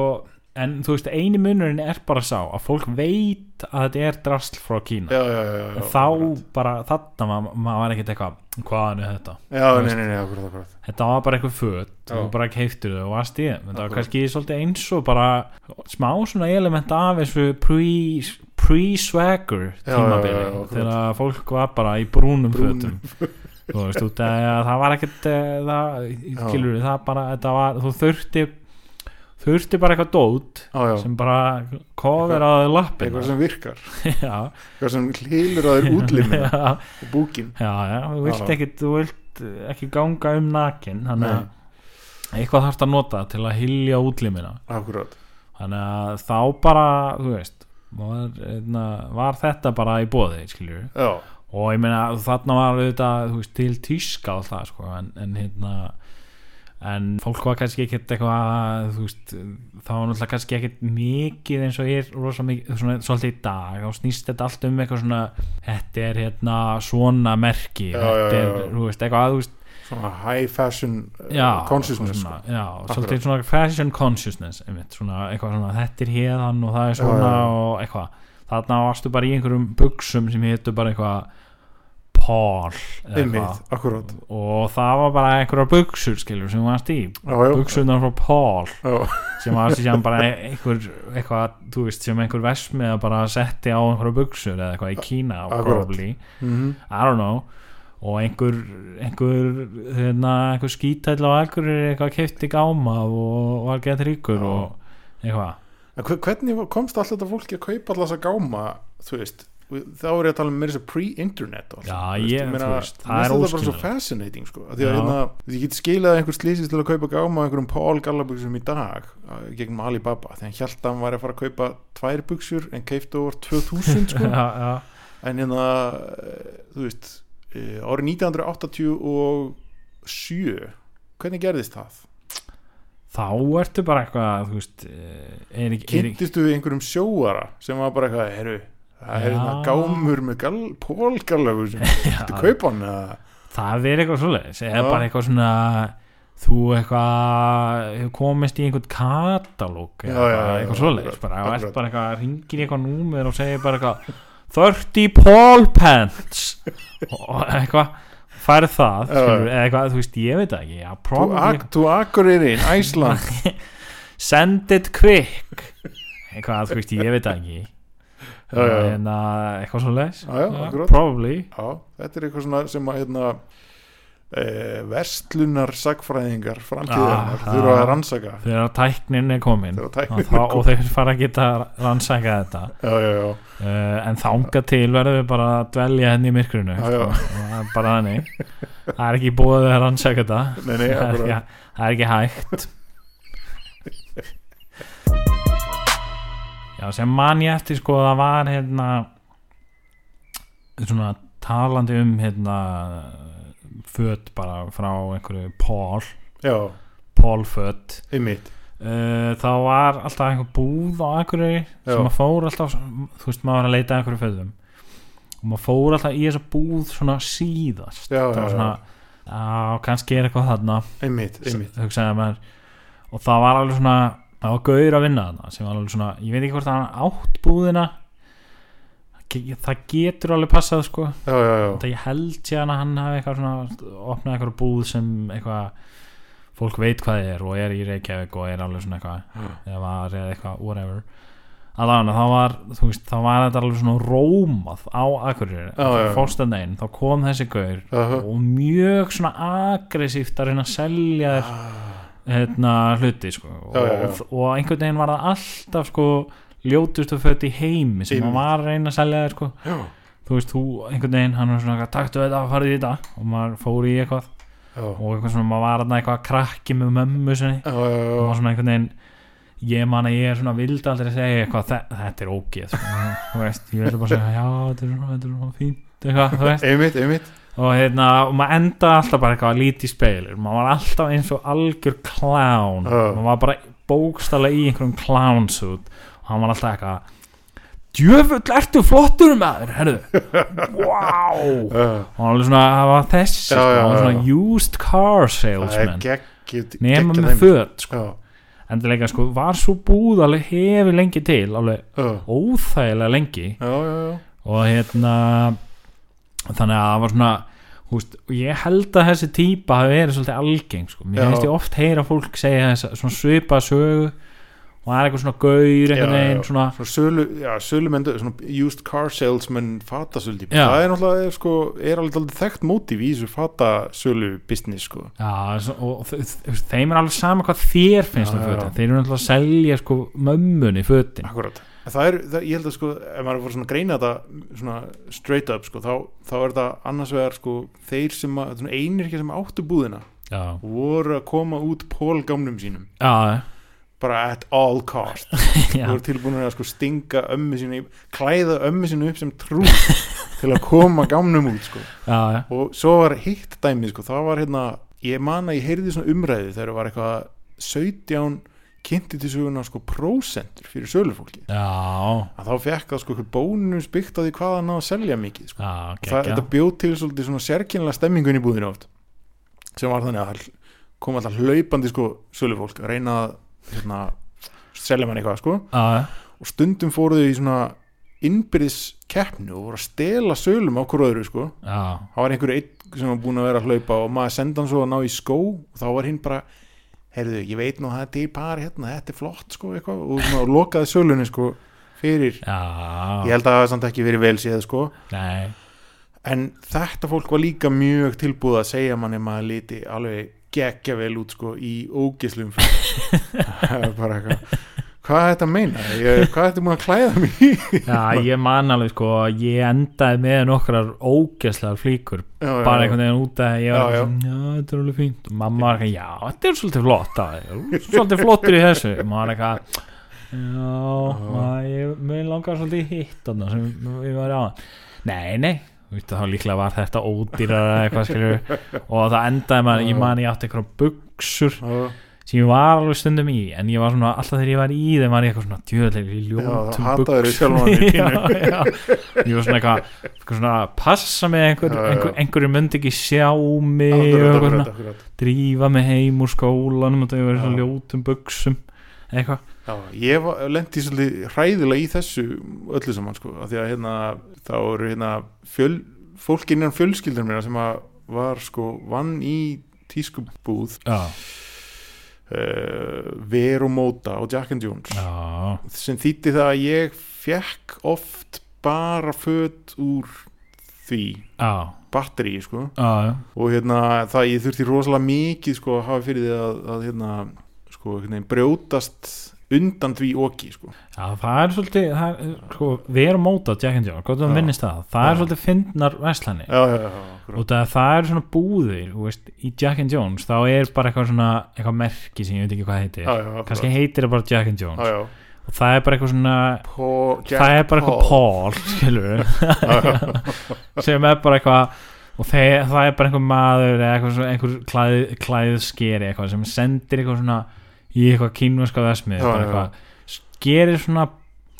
Speaker 6: en þú veist, eini munurinn er bara sá að fólk veit að þetta er drasl frá Kína
Speaker 5: já, já, já, já
Speaker 6: þá bara, þarna var maður var ekkert eitthvað hvaðan er þetta?
Speaker 5: já, nei, nei, nei, akkurat, akkurat
Speaker 6: Þetta var bara eitthvað föt
Speaker 5: Já.
Speaker 6: og bara keiftur þau og varst í þeim þetta var
Speaker 5: Akkurat.
Speaker 6: kannski svolítið eins og bara smá svona element af þessu pre- pre-swagger
Speaker 5: Já, já, já, já,
Speaker 6: tímabili
Speaker 5: akkurat.
Speaker 6: þegar að fólk var bara í brúnum
Speaker 5: Brúnum.
Speaker 6: fötum þú veist, út af því að það var ekkert eh, það,
Speaker 5: Já.
Speaker 6: skilur við, það bara þetta var, þú þurfti þurfti bara eitthvað dót
Speaker 5: já, já,
Speaker 6: sem bara kofir á þau lappina
Speaker 5: eitthvað sem virkar
Speaker 6: já,
Speaker 5: eitthvað sem hlýlur á þér útlimina
Speaker 6: já,
Speaker 5: og búkin
Speaker 6: já, já, þú vilt
Speaker 5: Já.
Speaker 6: ekki þú vilt ekki ganga um nakin þannig að
Speaker 5: Nei.
Speaker 6: eitthvað þarfst að nota til að hilja útlimina
Speaker 5: akkurat
Speaker 6: þannig að þá bara þú veist var, einna, var þetta bara í boði skiljur
Speaker 5: já,
Speaker 6: og ég meina þarna var auðvitað þú veist, til tíska og það sko en, en hérna en fólk var kannski ekkert eitthvað þú veist, það var náttúrulega kannski ekkert mikið eins og er rosa mikið svona, svolítið í dag og snýst þetta allt um eitthvað svona, þetta er hérna svona merki,
Speaker 5: Já,
Speaker 6: þetta
Speaker 5: já,
Speaker 6: er
Speaker 5: já, já.
Speaker 6: þú veist, eitthvað, þú veist
Speaker 5: svona high fashion uh,
Speaker 6: já,
Speaker 5: consciousness
Speaker 6: svona,
Speaker 5: sko.
Speaker 6: já, svolítið svona fashion consciousness einmitt, svona, eitthvað svona, þetta er hérðan og það er svona
Speaker 5: Já, já, já.
Speaker 6: og eitthvað þarna varstu bara í einhverjum buksum sem hétu bara eitthvað Paul eða
Speaker 5: sko. einmitt, akkurat
Speaker 6: og það var bara einhverjar buksur skilur sem varst í
Speaker 5: já, já,
Speaker 6: buksunar frá Paul
Speaker 5: já,
Speaker 6: sem var sem bara e- einhver eitthvað, þú veist, sem einhver versmiða bara setti á einhverjar buksur eða eitthvað í Kína
Speaker 5: Akkurat.
Speaker 6: probably
Speaker 5: mhm,
Speaker 6: I don't know og einhver einhver, hérna, einhver skítæll á algur er eitthvað kefti gáma og var gett ríkur
Speaker 5: Já.
Speaker 6: og eitthvað
Speaker 5: En hve- hvernig komst alltaf þetta fólki að kaupa alltaf þessa gáma þú veist, þá er ég að tala um meira þess að pre-internet og allt,
Speaker 6: Já, ég-
Speaker 5: þú ég
Speaker 6: þú
Speaker 5: meina,
Speaker 6: veist, það
Speaker 5: það
Speaker 6: er
Speaker 5: er bara svo
Speaker 6: óskiljanlegt.
Speaker 5: fascinating sko, að því að
Speaker 6: Já.
Speaker 5: hérna, ég get skilað að einhver slýsist til að kaupa gáma á einhverjum Paul Gallabuxum í dag uh, gegnum Alibaba, því hann hjælt að hann var að fara að kaupa tvær buxur en keipta over 2000 sko,
Speaker 6: já, já,
Speaker 5: en hérna eh, þú veist, eh, árið 1987 hvernig gerðist það?
Speaker 6: þá ertu bara eitthvað þú veist eh, er ekki, er ekki
Speaker 5: kynntistu við einhverjum sjóara sem var bara eitthvað, herru það er
Speaker 6: Já.
Speaker 5: hérna gámur með gal, pólgallöfu sem þetta kaupa hann eða
Speaker 6: það er eitthvað svoleiðis eða
Speaker 5: Já.
Speaker 6: bara eitthvað svona þú eitthvað hefur komist í einhvern katalóg
Speaker 5: Já,
Speaker 6: eða bara
Speaker 5: já, já,
Speaker 6: eitthvað
Speaker 5: já,
Speaker 6: svoleiðis
Speaker 5: akkurat,
Speaker 6: bara, og ert
Speaker 5: akkurat.
Speaker 6: bara eitthvað, ringir í eitthvað númer og segir bara eitthvað 30 Paul Pants og eitthvað færð það,
Speaker 5: Já,
Speaker 6: skilur,
Speaker 5: já.
Speaker 6: eða eitthvað þú veist, ég veit það ekki, já,
Speaker 5: "To
Speaker 6: probably
Speaker 5: Ak- to Akureyri, Æsland
Speaker 6: send it quick eitthvað, þú veist, ég veit það ekki
Speaker 5: Já, já, já.
Speaker 6: en að eitthvað svoleiðis
Speaker 5: Já, já, akkurat.
Speaker 6: probably
Speaker 5: Já, þetta er eitthvað svona sem að hérna, e, verslunar sagfræðingar framtíðarinnar
Speaker 6: Ah,
Speaker 5: þurfa
Speaker 6: ah.
Speaker 5: að rannsaka
Speaker 6: þegar tæknin er komin
Speaker 5: Þegar tæknin
Speaker 6: og,
Speaker 5: er
Speaker 6: þá,
Speaker 5: komin.
Speaker 6: og þeir fara að geta rannsaka þetta
Speaker 5: já, já, já,
Speaker 6: uh, en þanga til verðum við bara að dvelja henni í myrkrinu sko.
Speaker 5: Já, já.
Speaker 6: Það er bara þannig það er ekki búið að rannsaka þetta
Speaker 5: nei,
Speaker 6: það,
Speaker 5: nei,
Speaker 6: er
Speaker 5: akkurat
Speaker 6: ekki, það er ekki hægt já sem man ég eftir sko það var hérna svona talandi um hérna föt bara frá einhverju Paul
Speaker 5: já,
Speaker 6: Paul föt
Speaker 5: einmitt
Speaker 6: Uh, þá var alltaf einhver búð á Akureyri
Speaker 5: Já.
Speaker 6: sem að fór alltaf þú veist maður var að leita að einhverju föðum og maður fór alltaf í þessa búð svona síðast
Speaker 5: Já,
Speaker 6: það
Speaker 5: já,
Speaker 6: var svona á, kannski er eitthvað þarna
Speaker 5: einmitt, einmitt
Speaker 6: hugsaði maður og það var alveg svona það var gauður að vinna þarna sem var alveg svona ég veit ekki hvort hann átt búðina Ge- það getur alveg passað sko
Speaker 5: já, já, já,
Speaker 6: það ég held síðan að hann hafi eitthvað svona opnað eitthvað búð sem eitthvað fólk veit hvað það er og er í Reykjavík og er alveg svona eitthvað eða var eða eitthvað whatever allan þá var þú veist þá var þetta alveg svona rómað á
Speaker 5: Já, já, já.
Speaker 6: Akureyri fórstandein þá kom þessi gaur
Speaker 5: Aha.
Speaker 6: og mjög svona aggressíft að reyna að selja þér
Speaker 5: Ah.
Speaker 6: hérna hluti sko
Speaker 5: Já, já, já.
Speaker 6: Og, og einhvern veginn var það alltaf sko ljótustu fött í heimi sem hann
Speaker 5: Einmitt.
Speaker 6: var að reyna að selja þér sko
Speaker 5: já,
Speaker 6: þú veist, þú einhvern veginn, hann var svona eitthvað, taktu þetta, farið í þetta og maður fór í eitthvað
Speaker 5: já,
Speaker 6: og eitthvað svona, maður var þarna eitthvað krakki með mömmu sinni
Speaker 5: já, já,
Speaker 6: og
Speaker 5: já.
Speaker 6: maður svona einhvern veginn ég man að ég er svona vild aldrei að segja eitthvað "Þe- þetta er ógeð, svona, þú veist ég vildi bara segja, já, þetta er svona, þetta er svona fínt eitthvað, þú veist,
Speaker 5: einmitt, einmitt
Speaker 6: og hérna og maður endaði alltaf bara eitthvað að líti í speilur maður var alltaf eins og algjör klán
Speaker 5: Já.
Speaker 6: maður var bara bókstallega í einhverjum klánsút og hann var alltaf eitthvað djöfull ertu flottur maður herðu, wow
Speaker 5: Já,
Speaker 6: og hann var alveg svona, það var þessi
Speaker 5: Já,
Speaker 6: sko,
Speaker 5: já,
Speaker 6: hann var
Speaker 5: já,
Speaker 6: svona used car
Speaker 5: það er
Speaker 6: salesman
Speaker 5: geggjut
Speaker 6: nema með föt sko.
Speaker 5: já,
Speaker 6: endilega sko, var svo búð alveg hefi lengi til, alveg
Speaker 5: já,
Speaker 6: óþægilega lengi
Speaker 5: já, já, já.
Speaker 6: og hérna þannig að það var svona húst, og ég held að þessi típa hafi verið svolítið algeng sko.
Speaker 5: Já.
Speaker 6: mér finnst ég oft heyra fólk segja þess að svona svipa sögu og það er eitthvað svona gaur
Speaker 5: Já,
Speaker 6: einhvern
Speaker 5: já.
Speaker 6: veginn svona
Speaker 5: Svona sölu, já, sölumendu, svona used car salesman fatasöldýp,
Speaker 6: Já.
Speaker 5: það er náttúrulega er, sko, er alveg dálítið þekkt mótíf í þessu fatasölu business, sko
Speaker 6: Já, svo- og þ- þ- þeim er alveg sama hvað þér finnst
Speaker 5: Já,
Speaker 6: um
Speaker 5: já.
Speaker 6: fötin þeir eru náttúrulega að selja sko mömmunni fötin
Speaker 5: Akkurat. Það er, það, ég held að sko, ef maður fór svona að greina þetta svona straight up, sko, þá, þá er þetta annars vegar, sko, þeir sem að, svona einir ekki sem áttu búðina
Speaker 6: Já,
Speaker 5: voru að koma út pólgámnum sínum,
Speaker 6: já,
Speaker 5: bara at all cost.
Speaker 6: já.
Speaker 5: voru tilbúinir að sko stinga ömmu sínu, í- klæða ömmu sínu upp sem trú til að koma gámnum út, sko.
Speaker 6: já, já.
Speaker 5: Og svo var hitt dæmið, sko, það var hérna, ég man að ég heyrði svona umræði þegar það var eitthvað 17 kynnti til söguna, sko, prósentur fyrir sölufólki.
Speaker 6: Já,
Speaker 5: að þá fekk það sko einhver bónus byggt á því hvað hann á að selja mikið sko.
Speaker 6: já,
Speaker 5: það,
Speaker 6: gekkja
Speaker 5: þetta bjóð til svolítið svona sérkynlega stemmingun í búðinu oft sem var þannig að það kom alltaf hlaupandi sko sölufólk að reyna að hérna, selja mann eitthvað sko
Speaker 6: Já,
Speaker 5: og stundum fóru þau í svona innbyrðis keppni og voru að stela sölum á hverju öðru sko
Speaker 6: já,
Speaker 5: það var einhver einn sem var búin að vera að hlaupa og maður sendi hann svo að ná í skó og þá var hinn bara heyrðu, ég veit nú að það er til par hérna, þetta er flott sko eitthvað og svona, lokaði sölunni sko fyrir
Speaker 6: já
Speaker 5: ég held að það hafi samt ekki verið vel séð sko
Speaker 6: Nei,
Speaker 5: en þetta fólk var líka mjög tilbúið að segja manni að maður liti alveg geggja vel út sko í ógislum bara eitthvað hvað er þetta að meina, ég, hvað er þetta múin að klæða mig í?
Speaker 6: já, ég man alveg sko að ég endaði með nokkrar ógeðslegar flíkur
Speaker 5: já, já,
Speaker 6: bara einhvern veginn út að ég var
Speaker 5: Já, já.
Speaker 6: svona, já, þetta er alveg fínt og mamma var eitthvað, já, þetta er svolítið flott að, svolítið flottur í þessu og maður var eitthvað já, maður, ég mun langar svolítið í hitt þarna sem ég var á nei, nei, þú veistu þá líklega var þetta ódýrar eitthvað skilur og það endaði maður, ég man ég átti eitthvað buksur
Speaker 5: Já,
Speaker 6: sem ég var alveg stundum í en ég var svona, alltaf þegar ég var í þeim var ég eitthvað svona djöðlega í
Speaker 5: já, það
Speaker 6: ljótum
Speaker 5: hataður
Speaker 6: buxum."
Speaker 5: sjálfan þig
Speaker 6: já,
Speaker 5: pínu.
Speaker 6: já. ég var svona eitthvað, eitthvað svona að passa mig einhver,
Speaker 5: Já, já, já.
Speaker 6: einhver, einhverju myndi ekki sjá mig og
Speaker 5: Akkurat,
Speaker 6: eitthvað
Speaker 5: akkurat,
Speaker 6: svona,
Speaker 5: akkurat.
Speaker 6: drífa mig heim úr skólanum og það var í svona
Speaker 5: Já.
Speaker 6: ljótum buksum eitthvað
Speaker 5: Já, ég var- lenti svolítið hræðilega í þessu öllu saman sko, af því að hérna þá eru hérna fjöl, fólk innan fjölskyldur minna sem að var sko vann í tískubúð
Speaker 6: já,
Speaker 5: uh, Verumóta og Jack and Jones
Speaker 6: já,
Speaker 5: sem þýtti það að ég fekk oft bara föt úr því
Speaker 6: já,
Speaker 5: batteri sko
Speaker 6: já,
Speaker 5: og hérna það ég þurfti rosalega mikið sko að hafa fyrir því að, að hérna sko hérna, brjótast undan því oki sko
Speaker 6: já það er svolítið það er, sko, við erum mótað Jack and Joe, gott að
Speaker 5: Já.
Speaker 6: minnist það það er
Speaker 5: Já.
Speaker 6: svolítið fyndnar veslani
Speaker 5: já, já, já, já,
Speaker 6: og það, það er svona búðir þú veist, í Jack and Jones, þá er bara eitthvað svona eitthvað merki sem ég veit ekki hvað heitir
Speaker 5: já, já, já,
Speaker 6: kannski heitir það bara Jack and Jones
Speaker 5: já, já.
Speaker 6: og það er bara eitthvað svona
Speaker 5: Pó,
Speaker 6: það er bara eitthvað Paul skilur sem er bara eitthvað og þeir, það er bara einhver maður eða eitthvað, svona- einhver klæð, klæðskeri eitthvað sem sendir eitthvað svona í eitthvað kínverska vesmið
Speaker 5: Já,
Speaker 6: bara
Speaker 5: já.
Speaker 6: eitthvað, gerir svona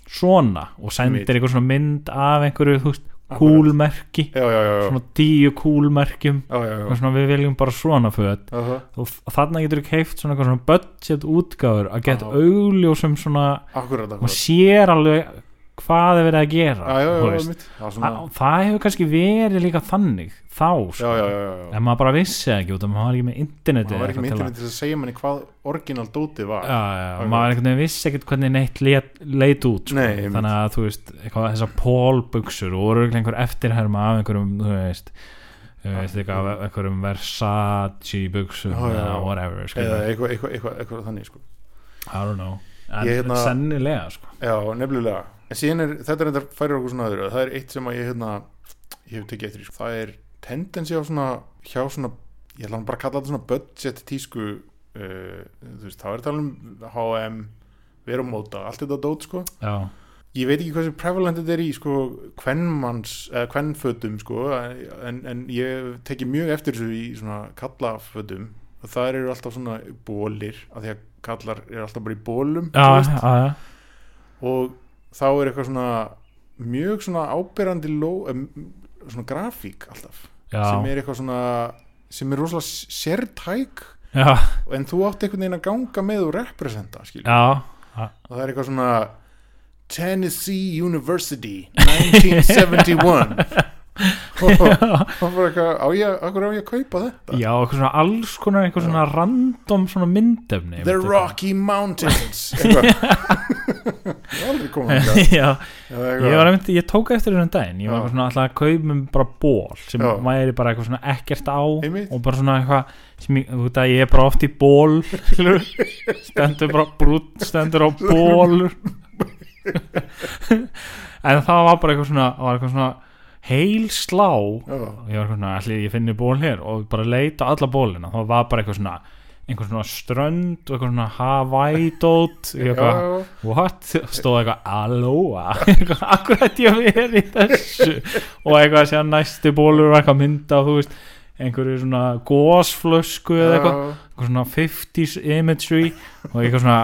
Speaker 6: svona og sendir
Speaker 5: Einmitt.
Speaker 6: eitthvað svona mynd af einhverju þú veist,
Speaker 5: Akkurat.
Speaker 6: kúlmerki
Speaker 5: já, já, já, já,
Speaker 6: svona tíu kúlmerkjum
Speaker 5: já, já,
Speaker 6: og
Speaker 5: já.
Speaker 6: svona við viljum bara svona föt
Speaker 5: Aha,
Speaker 6: og f- þarna getur þú keift svona, eitthvað svona budget útgáfur að geta
Speaker 5: Já.
Speaker 6: augljósum svona
Speaker 5: akkurat,
Speaker 6: maður
Speaker 5: akkurat
Speaker 6: sér alveg hvað er verið að
Speaker 5: já,
Speaker 6: gera
Speaker 5: já,
Speaker 6: þú
Speaker 5: já,
Speaker 6: veist. Ah,
Speaker 5: mitt já, svona,
Speaker 6: Að- það hefur kannski verið líka þannig þá
Speaker 5: já,
Speaker 6: sko.
Speaker 5: já, já, já, já.
Speaker 6: en maður bara vissi það ekki út af maður var ekki með interneti
Speaker 5: maður var ekki
Speaker 6: eða
Speaker 5: með
Speaker 6: eitthvað til að-
Speaker 5: internet til að segja manni hvað orginal dótið var
Speaker 6: Já, já,
Speaker 5: Akkurat.
Speaker 6: maður einhvern veginn vissi ekkert hvernig neitt leit, leit út sko.
Speaker 5: Nei, einmitt.
Speaker 6: þannig að þú veist, eitthvað þessar pólbuksur og voru örugglega einhver eftirherma af einhverjum, þú veist þú veist, eitthvað, af einhverjum Versace buksum
Speaker 5: Já, já, já.
Speaker 6: eða whatever, sko,
Speaker 5: eða eitthvað, eitthvað, eitthvað, eitthvað þannig sko.
Speaker 6: I don't know en
Speaker 5: Ég hérna-
Speaker 6: sennilega, sko
Speaker 5: já, nefnilega en síðan er, þetta er þetta færir okkur svona öðru það er eitt sem að ég, hérna, ég hef tekið eftir í, sko. það er tendensi á svona hjá svona, ég ætla nú bara að kalla þetta svona budget tísku uh, þú veist, þá er tala um H&M verumóta, allt þetta dót sko
Speaker 6: já,
Speaker 5: ég veit ekki hversu prevalent þetta er í sko kvennmanns, eða kvennfötum sko, en, en ég teki mjög eftir þessu í svona kallafötum og það eru alltaf svona bólir, af því að kallar eru alltaf bara í bólum
Speaker 6: já,
Speaker 5: þú
Speaker 6: já, já,
Speaker 5: og þá er eitthvað svona mjög svona ábyrrandi ló, em, svona grafík alltaf,
Speaker 6: já,
Speaker 5: sem er eitthvað svona sem er rosalega s- sértæk
Speaker 6: já,
Speaker 5: en þú átt einhvern veginn að ganga með og representa skilur.
Speaker 6: já
Speaker 5: og það er eitthvað svona Tennessee University 1971 og það var eitthvað á ég, akkur á ég að kaupa þetta
Speaker 6: já, eitthvað svona alls konar eitthvað svona random svona myndefni
Speaker 5: The Rocky Mountains eitthvað Ég er aldrei komið þangað.
Speaker 6: já, ég
Speaker 5: Eða
Speaker 6: var
Speaker 5: eitthvað
Speaker 6: einmitt, ég tók eftir þessum daginn ég var
Speaker 5: Já.
Speaker 6: eitthvað svona alltaf að kaupa um bara ból sem
Speaker 5: Já.
Speaker 6: væri bara eitthvað svona ekkert á
Speaker 5: Einmitt.
Speaker 6: og bara svona eitthvað sem ég, þú veit að ég er bara oft í ból skilurðu. stendur bara brútt stendur á ból en það var bara eitthvað svona, var eitthvað svona heil slá
Speaker 5: Já.
Speaker 6: og ég var eitthvað svona, allir ég finni ból hér og bara leita á alla bólina, það var bara eitthvað svona einhver svona strönd og eitthvað svona Hawaii-dót ég
Speaker 5: Já,
Speaker 6: eitthvað, what, stóð eitthvað aloha, eitthvað, akkurat ég verið í þessu og eitthvað sér næsti bólur var eitthvað mynda þú veist, einhverju svona gósflösku eða eitthvað, eitthvað svona 50s imagery og eitthvað svona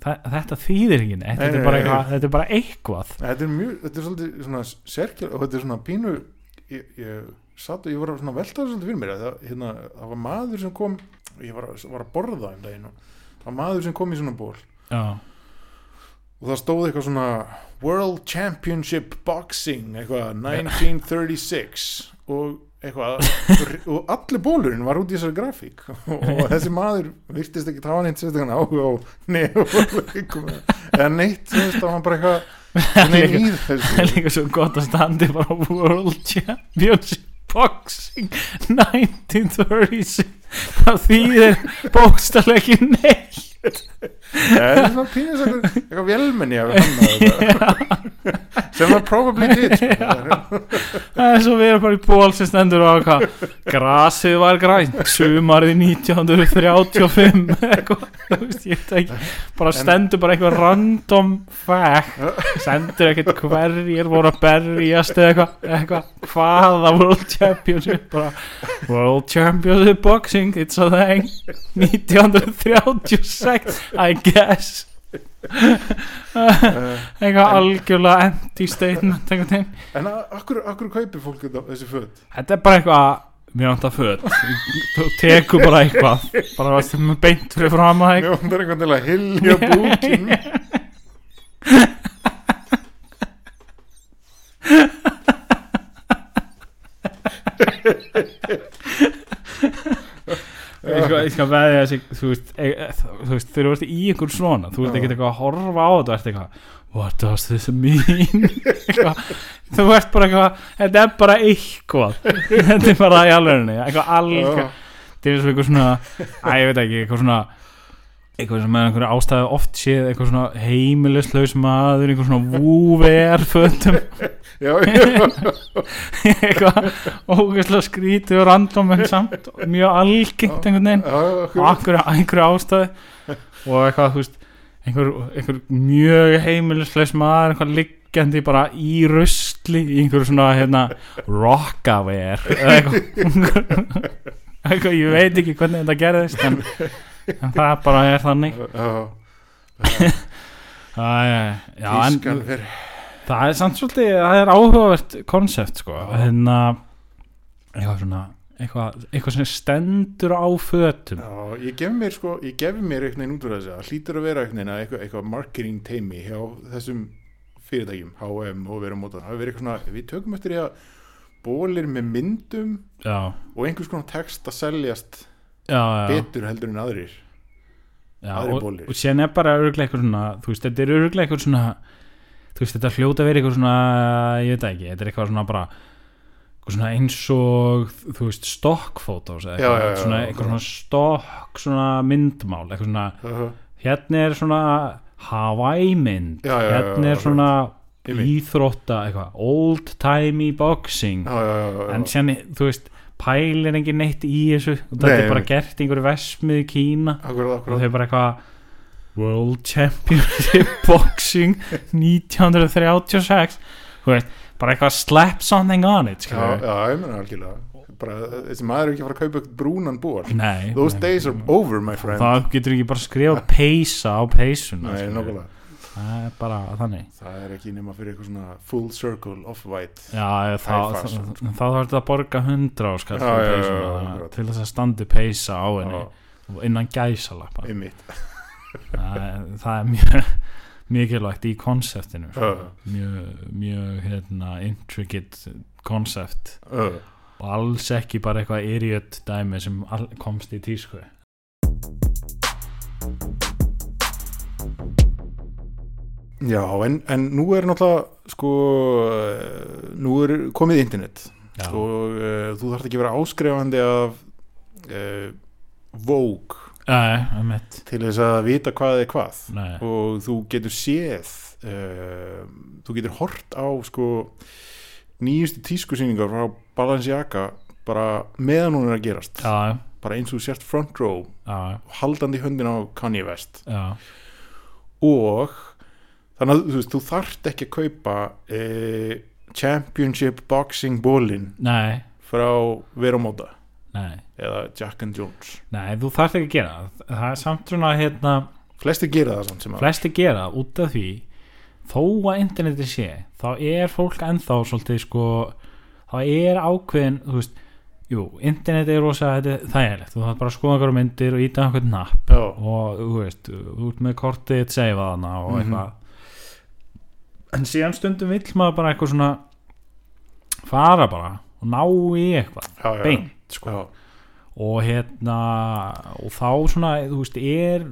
Speaker 6: þa- þetta þýðir ekki neitt, þetta
Speaker 5: Nei,
Speaker 6: er bara
Speaker 5: nei,
Speaker 6: eitthvað, þetta er bara eitthvað
Speaker 5: Þetta er mjög, þetta er svolítið svona sérkjör og þetta er svona pínu ég, ég satt og ég var svona að velta það svolítið fyrir mér það, hérna, það var maður sem kom ég var, að- var að borða um daginn og það var maður sem kom í svona ból
Speaker 6: já,
Speaker 5: og það stóð eitthvað svona World Championship Boxing eitthvað 1936 og eitthvað og allir bólurinn var út í þessari grafík og þessi maður virtist ekki hafa neitt sérstakann áhuga á nefnleikum eða neitt þú veist, það var bara eitthvað neinn í
Speaker 6: það er
Speaker 5: þessu
Speaker 6: líka svo gott að standi bara á World Championship Boxing 1936 það þýðir bókstall ekki neitt
Speaker 5: það er svona pínus eitthvað, eitthvað velmenni af hann þetta. sem það probably did sko.
Speaker 6: Það er svo við erum bara í ból sem stendur á hvað Grasið var grænt Sumarið 1935 eitthvað, þú veist, ég veit ekki Bara stendur bara einhver random fact Sendur ekkert hverjir voru að berjast eða eitthvað eitthva, Hvaða World Championship bara, World Championship Boxing It's a thing 1936 I guess
Speaker 5: Eh,
Speaker 6: Eitthvað algjörlega anti-statement einhvern veginn
Speaker 5: en að- akkur, akkur kaupir fólk þetta- þessi föt
Speaker 6: Þetta er bara eitthvað Mér vantar föt Þú tekur bara eitthvað Bara veist með beint fyrir fram að
Speaker 5: Mér var bara einhvern til að hilja búkin
Speaker 6: Ég skal, ég skal veðja þessi Þú veist, e, e, þú veist þegar þú ert í einhver svona Þú ert
Speaker 5: Já.
Speaker 6: ekkert eitthvað að horfa á þetta Þú ert eitthvað What does this mean? Eitthvað, þú ert bara eitthvað Þetta er bara eitthvað Þetta er bara í alvegni Eitthvað algjör Þetta er eins og eitthvað svona Æ, ég veit ekki, eitthvað svona eitthvað sem með einhverju ástæðu oft séð eitthvað svona heimilislaus maður einhver svona vúverfötum
Speaker 5: Já, já,
Speaker 6: eitthvað ógeðslega skrítið og random en samt mjög algengt einhvern veginn
Speaker 5: já,
Speaker 6: og akkur einhverju ástæði og eitthvað þú veist einhver, einhver mjög heimilisleis maður einhver liggjandi bara í rusli í einhverju svona hérna rockaware eða eitthvað eitthvað ég veit ekki hvernig þetta gerðist en, en það bara er þannig Æ, já, en,
Speaker 5: Tískan fyrir
Speaker 6: Það er samt svolítið, það er áhugavert konsept sko, hérna eitthvað svona, eitthvað, eitthvað sem stendur á fötum
Speaker 5: Já, ég gef mér sko, ég gef mér einhvern veginn út úr þessu, það hlýtur að vera einhvern veginn að eitthvað, eitthvað marketing teimi hjá þessum fyrirtækjum, H&M og verið mótan, það hefur verið eitthvað svona, við tökum eftir því að bólir með myndum
Speaker 6: Já,
Speaker 5: og einhvers konar text að seljast
Speaker 6: já, já,
Speaker 5: betur heldur en aðrir.
Speaker 6: já
Speaker 5: aðrir
Speaker 6: og,
Speaker 5: bólir.
Speaker 6: og síðan er bara örglega eitthvað svona, þú veist, þetta er örglega eitthvað svona þú veist, þetta hljóta verið eitthvað svona ég veit það ekki, þetta er eitthvað svona bara eitthvað svona eins og þú veist, stokkfótós eða
Speaker 5: Já,
Speaker 6: eitthvað,
Speaker 5: já, já,
Speaker 6: svona,
Speaker 5: já,
Speaker 6: eitthvað svona stokk svona myndmál, eitthvað svona
Speaker 5: Uh,
Speaker 6: hérna er svona Hawaii mynd
Speaker 5: Já, já, já, já,
Speaker 6: hérna
Speaker 5: já,
Speaker 6: er svona
Speaker 5: Einmitt.
Speaker 6: íþrótta eitthvað, old timey boxing
Speaker 5: já, já, já, já.
Speaker 6: en sérni, þú veist pælir engin neitt í þessu og þetta
Speaker 5: Nei,
Speaker 6: er bara
Speaker 5: einmitt.
Speaker 6: gert í einhverju vesmið í Kína og
Speaker 5: Akkurat,
Speaker 6: þau
Speaker 5: akkurat.
Speaker 6: bara eitthvað World Championship Boxing 1936 þú veist, bara eitthvað slap something on it
Speaker 5: Já,
Speaker 6: skilurðu.
Speaker 5: já, ég meina algjörlega. Bara, þessi maður er ekki að fara að kaupa eitthvað brúnan ból.
Speaker 6: nei,
Speaker 5: Those
Speaker 6: nei.
Speaker 5: days are over, my friend.
Speaker 6: það getur ekki bara skrifa peysa á peysuna
Speaker 5: Nei,
Speaker 6: skilurðu.
Speaker 5: nokkulega.
Speaker 6: það er bara þannig
Speaker 5: Það er ekki nema fyrir eitthvað svona full circle off-white.
Speaker 6: Já, þá,
Speaker 5: High
Speaker 6: þá,
Speaker 5: fast,
Speaker 6: þá, þá þarf þetta að borga hundra á skall
Speaker 5: Já,
Speaker 6: fyrir
Speaker 5: já, já,
Speaker 6: peysuna,
Speaker 5: já,
Speaker 6: þannig að
Speaker 5: akkurat.
Speaker 6: til þess að standi peysa á henni
Speaker 5: Já.
Speaker 6: og innan gæsalappa
Speaker 5: einmitt
Speaker 6: það, er- það er mjög mikilvægt í konseptinu sko.
Speaker 5: Já.
Speaker 6: mjög, mjög hérna, intricate konsept
Speaker 5: uh.
Speaker 6: og alls ekki bara eitthvað idiot dæmi sem all, komst í tísku
Speaker 5: Já, en, en nú er náttúrulega sko, eh, nú er komið internet
Speaker 6: Já,
Speaker 5: og uh, þú þarft ekki að vera áskrefandi af uh, vók
Speaker 6: uh, um eitt
Speaker 5: til þess að vita hvað er hvað
Speaker 6: Nei,
Speaker 5: og þú getur séð uh, þú getur hort á sko nýjustu tískusýningar frá Balenciaga bara meðan hún er að gerast
Speaker 6: já,
Speaker 5: bara eins og þú sért front row
Speaker 6: já,
Speaker 5: haldandi í höndin á Kanye West
Speaker 6: já
Speaker 5: og þannig að þú, veist, þú þarft ekki að kaupa uh, Championship Boxing bólin
Speaker 6: Nei,
Speaker 5: frá Veromóta
Speaker 6: nei
Speaker 5: eða Jack and Jones
Speaker 6: Nei, þú þarft ekki að gera það. það er samt svona hérna,
Speaker 5: flestir gera það samt sem að
Speaker 6: flesti gera það út af því þó að interneti sé þá er fólk ennþá svolítið sko þá er ákveðin þú veist, jú, interneti er rosa þetta er þægilegt, þú þarf bara að skoða einhverjum myndir og íta einhvern napp
Speaker 5: Já,
Speaker 6: og þú veist, þú ert með kortið að segja þarna og
Speaker 5: Mhm.
Speaker 6: eitthvað en síðan stundum vill maður bara eitthvað svona fara bara og ná í eitthvað,
Speaker 5: já, já,
Speaker 6: beint
Speaker 5: sko. já,
Speaker 6: og hérna og þá svona, þú veist, er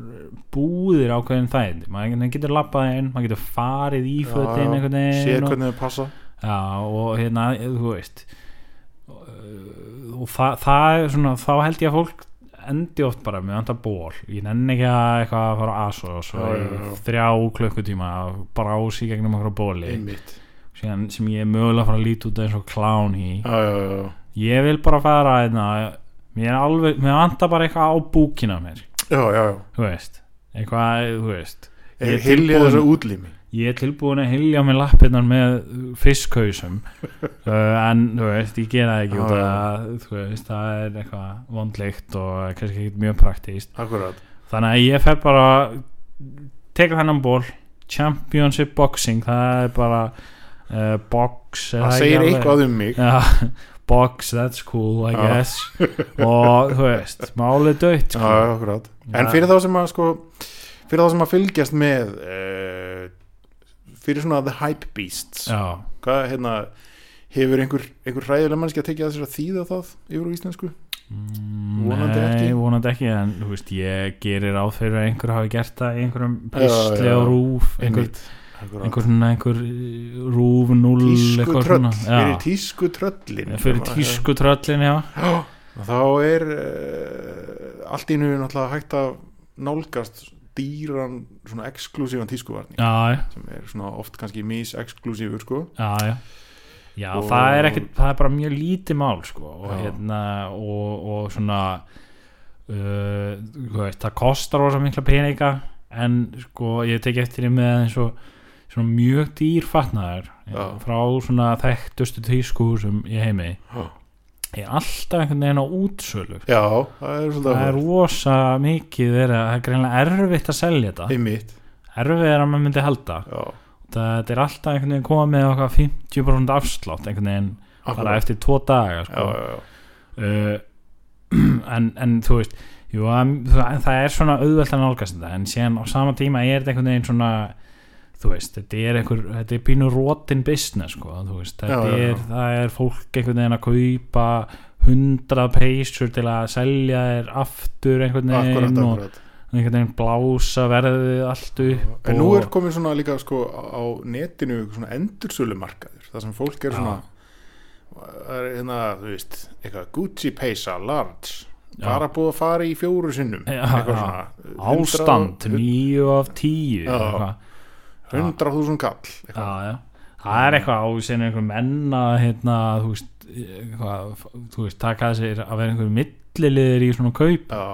Speaker 6: búðir ákveðin þægindi maður getur labbað inn, maður getur farið í
Speaker 5: Já,
Speaker 6: fötin
Speaker 5: já.
Speaker 6: einhvern
Speaker 5: séð
Speaker 6: veginn og,
Speaker 5: hvernig þau passa
Speaker 6: já, og hérna, þú veist og, og það, það er svona, þá held ég að fólk endi oft bara með andar ból ég nenni ekki að eitthvað að fara á ASOS
Speaker 5: Já,
Speaker 6: og
Speaker 5: já, já.
Speaker 6: þrjá klukkutíma að brási gegnum okkur bóli
Speaker 5: einmitt
Speaker 6: Síðan, sem ég er mögulega að fara að líti út eins og klán í
Speaker 5: já, já, já, já.
Speaker 6: ég vil bara fara einna, mér er alveg, mér vantar bara eitthvað á búkina á mér,
Speaker 5: já, já, já.
Speaker 6: þú veist eitthvað, þú veist Ég er
Speaker 5: Hilja
Speaker 6: tilbúinn.
Speaker 5: þessu útlými
Speaker 6: ég er tilbúin að hylja á mér lappirnar með fiskhausum uh, en þú veist, ég gera það ekki
Speaker 5: Já,
Speaker 6: út af
Speaker 5: já.
Speaker 6: að, þú veist, það er eitthvað vondleikt og kannski ekki mjög praktíst
Speaker 5: Akkurat
Speaker 6: þannig að ég fer bara teka þennan ból championship boxing, það er bara uh, box er
Speaker 5: Það
Speaker 6: ekki
Speaker 5: segir
Speaker 6: alveg-
Speaker 5: eitthvað um mig
Speaker 6: Já, box, that's cool, I
Speaker 5: Já.
Speaker 6: guess Og, þú veist, málið dött
Speaker 5: Já,
Speaker 6: sko.
Speaker 5: akkurat En
Speaker 6: Já.
Speaker 5: fyrir þá sem að sko Fyrir þá sem að fylgjast með uh, Fyrir svona the hype beasts
Speaker 6: Já,
Speaker 5: Hvað, hérna Hefur einhver, einhver hræðilega mannski að tekja þess að þýða það yfir á íslensku?
Speaker 6: Mm,
Speaker 5: Vonandi
Speaker 6: Nei,
Speaker 5: ekki.
Speaker 6: vonandi ekki En, þú veist, ég gerir ráð fyrir að einhver hafi gert það í einhverjum
Speaker 5: Já,
Speaker 6: pistli
Speaker 5: já.
Speaker 6: og rúf einhver,
Speaker 5: Einmitt. Akkurat.
Speaker 6: einhver, svona, einhver eh, rúf, null
Speaker 5: tísku
Speaker 6: eitthvað
Speaker 5: tröll
Speaker 6: svona.
Speaker 5: Fyrir
Speaker 6: Já,
Speaker 5: tísku tröllin
Speaker 6: Fyrir tísku tröllin, já
Speaker 5: eh. Þá er uh, allt í nú náttúrulega hægt að nálgast dýran svona exklusívan tískuvarning
Speaker 6: Já, já,
Speaker 5: sem er svona oft kannski mis-exklusífur sko
Speaker 6: já, já Já,
Speaker 5: Og-
Speaker 6: það er ekkert, það er bara mjög lítið mál sko, og
Speaker 5: Já.
Speaker 6: hérna og, og svona uh, þú veist, það kostar rosa mikla peninga en sko ég tek eftir því með eins og svona mjög dýrfatnaður
Speaker 5: Já.
Speaker 6: frá svona þekktustu tískuhúsum í heimi er alltaf einhvern veginn á útsölu
Speaker 5: Já, það er svolítið
Speaker 6: það er rosa mikið verið að það er greinlega erfitt að selja þetta
Speaker 5: einmitt
Speaker 6: erfitt er að maður myndi halda
Speaker 5: Já,
Speaker 6: þetta er alltaf einhvern veginn komið með okkar 50% afslátt einhvern veginn bara
Speaker 5: akkurat.
Speaker 6: eftir tvo daga
Speaker 5: já,
Speaker 6: sko.
Speaker 5: já, já.
Speaker 6: uh, en, en þú veist jú, að- það, það er svona auðvelt að nálgast þetta en síðan á sama tíma er þetta einhvern veginn svona þú veist, þetta er einhver þetta er pínu rotin business sko, þú veist, þetta
Speaker 5: Já, já, já.
Speaker 6: er, það er fólk einhvern veginn að kaupa hundra peysur til að selja þér aftur einhvern veginn
Speaker 5: akkurat,
Speaker 6: og
Speaker 5: akkurat.
Speaker 6: einhvern veginn blása verðið allt upp
Speaker 5: En nú
Speaker 6: og-
Speaker 5: er komin svona líka sko á netinu svona endursölumarkaður þar sem fólk
Speaker 6: Já.
Speaker 5: er svona það er hérna, þú veist, eitthvað Gucci peysa, large
Speaker 6: Já.
Speaker 5: bara búið að fara í fjóru sinnum
Speaker 6: Já,
Speaker 5: eitthvað
Speaker 6: já.
Speaker 5: svona
Speaker 6: ástand, nýju af tíu
Speaker 5: Já.
Speaker 6: eitthvað.
Speaker 5: hundra þúsund kall eitthvað.
Speaker 6: já, já. það er eitthvað á sinni einhver menn að hérna, þú veist, eitthvað, þú veist taka þessir að vera einhver milliliðir í svona kaup
Speaker 5: Já,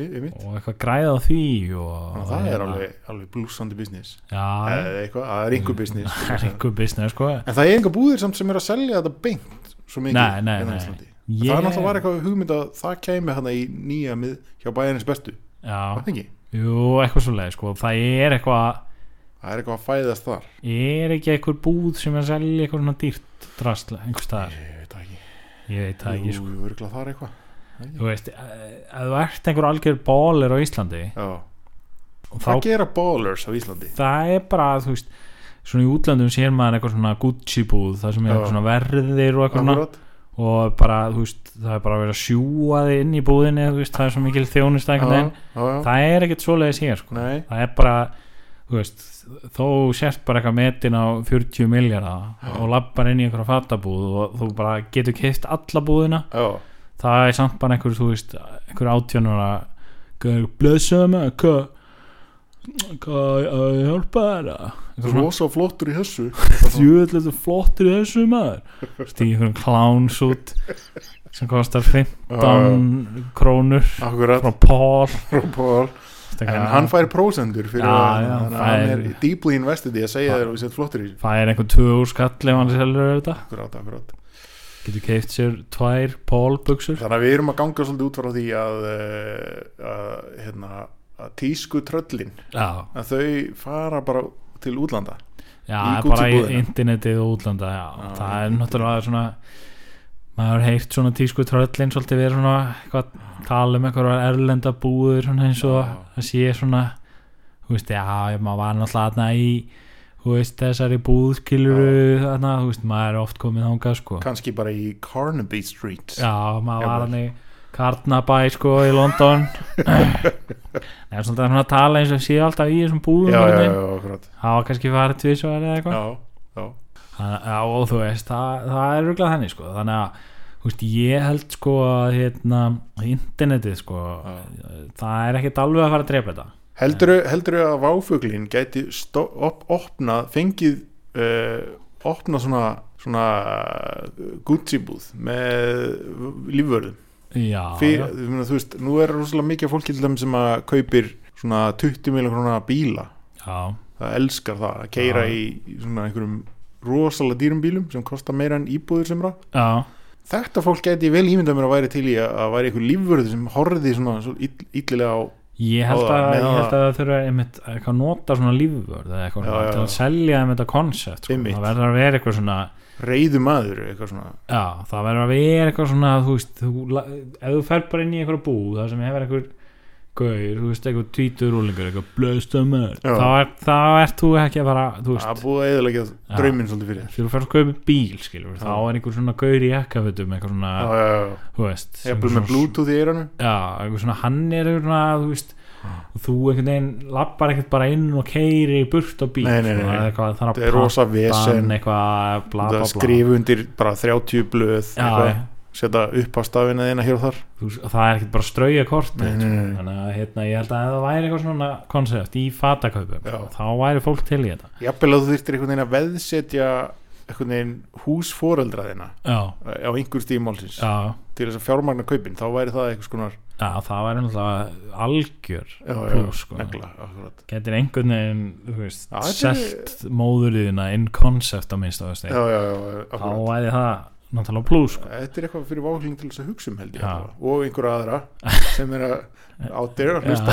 Speaker 5: ég mitt
Speaker 6: og eitthvað græða á því og,
Speaker 5: Það er
Speaker 6: hérna,
Speaker 5: alveg, alveg blúsandi business
Speaker 6: já,
Speaker 5: eða eitthvað, það er einhver business
Speaker 6: það er einhver business sko
Speaker 5: En það er einhver búðir samt sem er að selja þetta beint svo mikið
Speaker 6: Nei, nei,
Speaker 5: hérna á
Speaker 6: nei.
Speaker 5: Íslandi.
Speaker 6: Ég-
Speaker 5: Það er náttúrulega var eitthvað hugmynd að það kæmi hana í nýja mið hjá bæjarins bestu
Speaker 6: já,
Speaker 5: Það er ekki,
Speaker 6: jú, eitthvað svo leið sko það er eitthvað,
Speaker 5: það er eitthvað að fæðast þar
Speaker 6: er ekki einhver búð sem er að selja eitthvað svona dýrt drastla, einhver staðar,
Speaker 5: Ég veit það ekki
Speaker 6: ég veit það ekki sko
Speaker 5: Jú, jú, örgulega þar eitthvað
Speaker 6: þú veist, eh, ef þú ert einhver algjör bólir á Íslandi
Speaker 5: Já.
Speaker 6: þá
Speaker 5: Hvað gera ballers á Íslandi?
Speaker 6: það er bara þú veist svona í útlöndum sér maður eitthvað svona Gucci búð það sem er
Speaker 5: Já.
Speaker 6: eitthvað svona verðir og eitthvað svona
Speaker 5: Akkurat.
Speaker 6: og bara þú veist það er bara að vera sjúaði inn í búðinni þú veist það er svo mikil þjónust
Speaker 5: Já,
Speaker 6: einhvern veginn
Speaker 5: já, já.
Speaker 6: það er ekkert svoleiðis hér sko.
Speaker 5: Nei,
Speaker 6: það er bara þú veist þó sért bara eitthvað metin á 40 miljardar og lappar inn í einhverja fatabúð og þú bara getur keift alla búðina
Speaker 5: já,
Speaker 6: það er samt bara einhver, þú veist, einhver átjónara gaur, blessaðu mig, hvað hvað á ég að hjálpa þér að?" Eitthvað svona,
Speaker 5: rosa flottur í þessu
Speaker 6: djúvill þetta flottir í þessu maður stíði einhverjum klánsút sem kostar 15 krónur
Speaker 5: Akkurat,
Speaker 6: frá Paul
Speaker 5: Paul En hann fær prósendur fyrir
Speaker 6: Já,
Speaker 5: að
Speaker 6: já,
Speaker 5: hann,
Speaker 6: það
Speaker 5: hann er
Speaker 6: er-
Speaker 5: deeply invested í að segja þér að við setjum flottur í þessu.
Speaker 6: það er einhver tvö úr skall ef hann selur þetta
Speaker 5: Akkurat, akkurat.
Speaker 6: getur keift sér tvær Paul buksur
Speaker 5: Þannig að við erum að ganga svolítið út frá því að, eh, að, hérna, að tísku tröllin
Speaker 6: já,
Speaker 5: að þau fara bara til útlanda
Speaker 6: já
Speaker 5: Í
Speaker 6: bara í
Speaker 5: Gucci-búðina.
Speaker 6: internetið og útlanda já.
Speaker 5: Já,
Speaker 6: það er
Speaker 5: internetið.
Speaker 6: náttúrulega svona maður heift svona tísku tröllin svolítið verið svona eitthvað, tala um einhverjar erlenda búður svona eins og
Speaker 5: Já.
Speaker 6: að sé svona þú veist, já, ég- maður var náttúrulega þarna í þú veist, þessari búðskiluru þarna, þú veist, maður er oft komið þangað sko.
Speaker 5: kannski bara í Carnaby Street
Speaker 6: já, maður var
Speaker 5: Jafnvel.
Speaker 6: hann í Karnabæ sko í London nefnir svolítið svona að tala eins og sé alltaf í þessum búðum
Speaker 5: já, já,
Speaker 6: einhvern
Speaker 5: já,
Speaker 6: veginn.
Speaker 5: já, akkurat
Speaker 6: það var kannski farið tvisvar eða eitthvað
Speaker 5: já, já,
Speaker 6: Þannig- Já, og þú veist, það, það er rugglað þannig sko. þannig að, þú veist, ég held sko að hérna, internetið sko, það er ekkert alveg að fara að drepa þetta
Speaker 5: heldur þau að váfuglin gæti stó- op opna, fengið uh, opna svona, svona eh, Gucci búð með lífvörðum
Speaker 6: Já,
Speaker 5: Fyr,
Speaker 6: já,
Speaker 5: ég meina, þú veist, nú er rosalega mikið af fólki til þeim sem að kaupir svona 20 miljón krónar bíla
Speaker 6: já,
Speaker 5: það elskar það að keira
Speaker 6: Já.
Speaker 5: í í svona einhverjum rosalega dýrum bílum sem kosta meira en íbúður sem rá
Speaker 6: já,
Speaker 5: þetta fólk gæti vel ímyndað mér að væri til í að, að væri einhver lífvörði sem horfði svona svo ill, illilega á
Speaker 6: ég held
Speaker 5: Ó,
Speaker 6: að,
Speaker 5: með
Speaker 6: ég held að
Speaker 5: það-
Speaker 6: það þurfa einmitt eitthvað að nota svona lífvörð eða eitthvað
Speaker 5: Já,
Speaker 6: svona,
Speaker 5: já,
Speaker 6: til
Speaker 5: já.
Speaker 6: að selja einmitt að koncept sko.
Speaker 5: Einmitt.
Speaker 6: það verður að vera eitthvað svona
Speaker 5: reyðu maður eitthvað svona
Speaker 6: Já, það verður að vera eitthvað svona þú veist, þú, la- ef þú fer bara inn í einhverja búð það sem hefur einhver gaur, þú veist, einhver tvítur úlingur eitthvað blöðstu mér
Speaker 5: Já.
Speaker 6: þá, er, þá ert þú ekki að fara, þú
Speaker 5: að
Speaker 6: veist
Speaker 5: búið að eðalega
Speaker 6: Já.
Speaker 5: drauminn svolítið fyrir þér.
Speaker 6: þegar þú fer að kaupa bíl, skilur þá er einhver svona gaur í ekkafötum eitthvað svona,
Speaker 5: Já, já, já,
Speaker 6: þú veist sem
Speaker 5: jafnvel
Speaker 6: svona-
Speaker 5: með bluetooth í eiranu
Speaker 6: Já, einhver svona, hann er einhver svona, þú veist og þú einhvern veginn lappar ekkert bara inn og keiri burt á bíl
Speaker 5: Nei, nei, nei,
Speaker 6: svona,
Speaker 5: nei.
Speaker 6: eitthvað, það
Speaker 5: það er
Speaker 6: er að
Speaker 5: rosa vesen
Speaker 6: pann eitthvað, bla bla
Speaker 5: það
Speaker 6: bla
Speaker 5: skrifu undir bara 30 blöð
Speaker 6: Já,
Speaker 5: eitthvað,
Speaker 6: já.
Speaker 5: setja upp á stafina þina hér og þar
Speaker 6: þú, það er ekkert bara að strauja kortin
Speaker 5: Nei,
Speaker 6: sko.
Speaker 5: nei, nei.
Speaker 6: þannig að hérna, ég held að ef það væri eitthvað svona konsept í fatakaupum
Speaker 5: Já.
Speaker 6: þá væri fólk til í þetta
Speaker 5: jafnvel að þú þyrftir einhvern veginn að veðsetja einhvern veginn hús foreldra þina
Speaker 6: já,
Speaker 5: á einhver stímálsins
Speaker 6: já,
Speaker 5: til þess að fjármagna kaupin þá væri það einhvers konar
Speaker 6: já það væri náttúrulega algjör
Speaker 5: já, já,
Speaker 6: plús sko.
Speaker 5: negla, akkurat
Speaker 6: getur einhvern veginn þú veist,
Speaker 5: Já, þetta er-
Speaker 6: selt móðurðina in concept á minnst á
Speaker 5: já, já, já, já,
Speaker 6: þá
Speaker 5: akkurat
Speaker 6: væri það náttúrulega plús sko.
Speaker 5: þetta er eitthvað fyrir váhling til þess að hugsa um held ég
Speaker 6: Já.
Speaker 5: allavega. og einhverja aðra sem er að out there að hlusta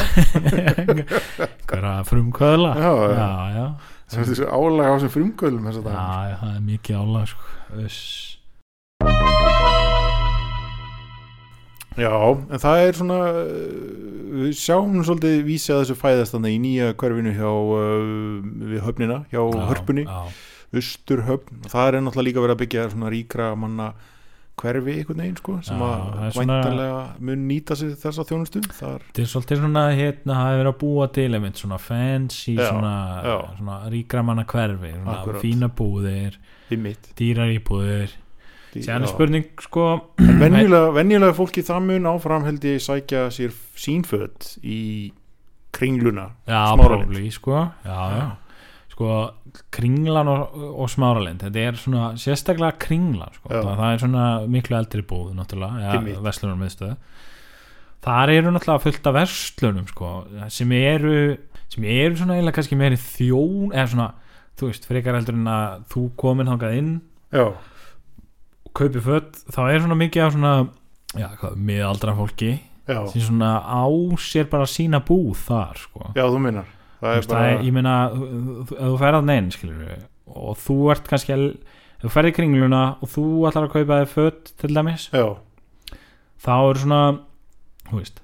Speaker 6: einhverja frumkvöðla
Speaker 5: Já, já.
Speaker 6: já, já,
Speaker 5: sem er þessu álæg á þessum frumkvölum þess að það
Speaker 6: já, það er mikið álag sko. Uss.
Speaker 5: já, en það er svona uh, við sjáum svolítið vísi að þessu fæðastanda í nýja hverfinu hjá uh, við höfnina, hjá
Speaker 6: Já,
Speaker 5: hörpunni
Speaker 6: já,
Speaker 5: Usturhöfn og það er náttúrulega líka verið að byggja svona ríkra manna hverfi einhvern veginn sko sem
Speaker 6: Já, það
Speaker 5: að
Speaker 6: er svona-
Speaker 5: væntanlega mun nýta sér þessa þjónustu þar,
Speaker 6: Þetta er svolítið svona, hérna, það hefur verið að búa til einmitt svona fancy,
Speaker 5: Já,
Speaker 6: svona,
Speaker 5: já.
Speaker 6: svona ríkra manna hverfi, svona
Speaker 5: Akkúrat.
Speaker 6: fína búðir,
Speaker 5: í mitt
Speaker 6: dýrar íbúðir.
Speaker 5: Því-
Speaker 6: Sér hann
Speaker 5: já.
Speaker 6: er spurning, sko,
Speaker 5: En venjulega, venjulega fólki það mun áfram held ég sækja sér sínföt í kringluna
Speaker 6: já,
Speaker 5: Smáralind.
Speaker 6: prófli, sko, já, já, sko, kringlan og, og smáralind, þetta er svona, sérstaklega kringlan, sko,
Speaker 5: Já.
Speaker 6: það, það er svona miklu eldri búð, náttúrulega,
Speaker 5: Einmitt.
Speaker 6: ja, verslunar miðstöð. Þar eru náttúrulega fullt af verslunum, sko, sem eru, sem eru svona eiginlega kannski meiri þjón, eða svona, þú veist, frekar heldur en að þú komin hangað inn
Speaker 5: Já,
Speaker 6: og kaupi fött þá er svona mikið af svona já, hvað, miðaldra fólki
Speaker 5: já,
Speaker 6: sem svona á sér bara sína búð þar sko.
Speaker 5: já þú minnar Það
Speaker 6: Þú
Speaker 5: er
Speaker 6: veist, það
Speaker 5: bara,
Speaker 6: er, ég meina, þú- þú- ef þú ferð að neinn skilur og þú ert kannski að ef þú ferð í kringluna og þú ætlar að kaupa þér fött til dæmis
Speaker 5: já,
Speaker 6: þá eru svona þú veist,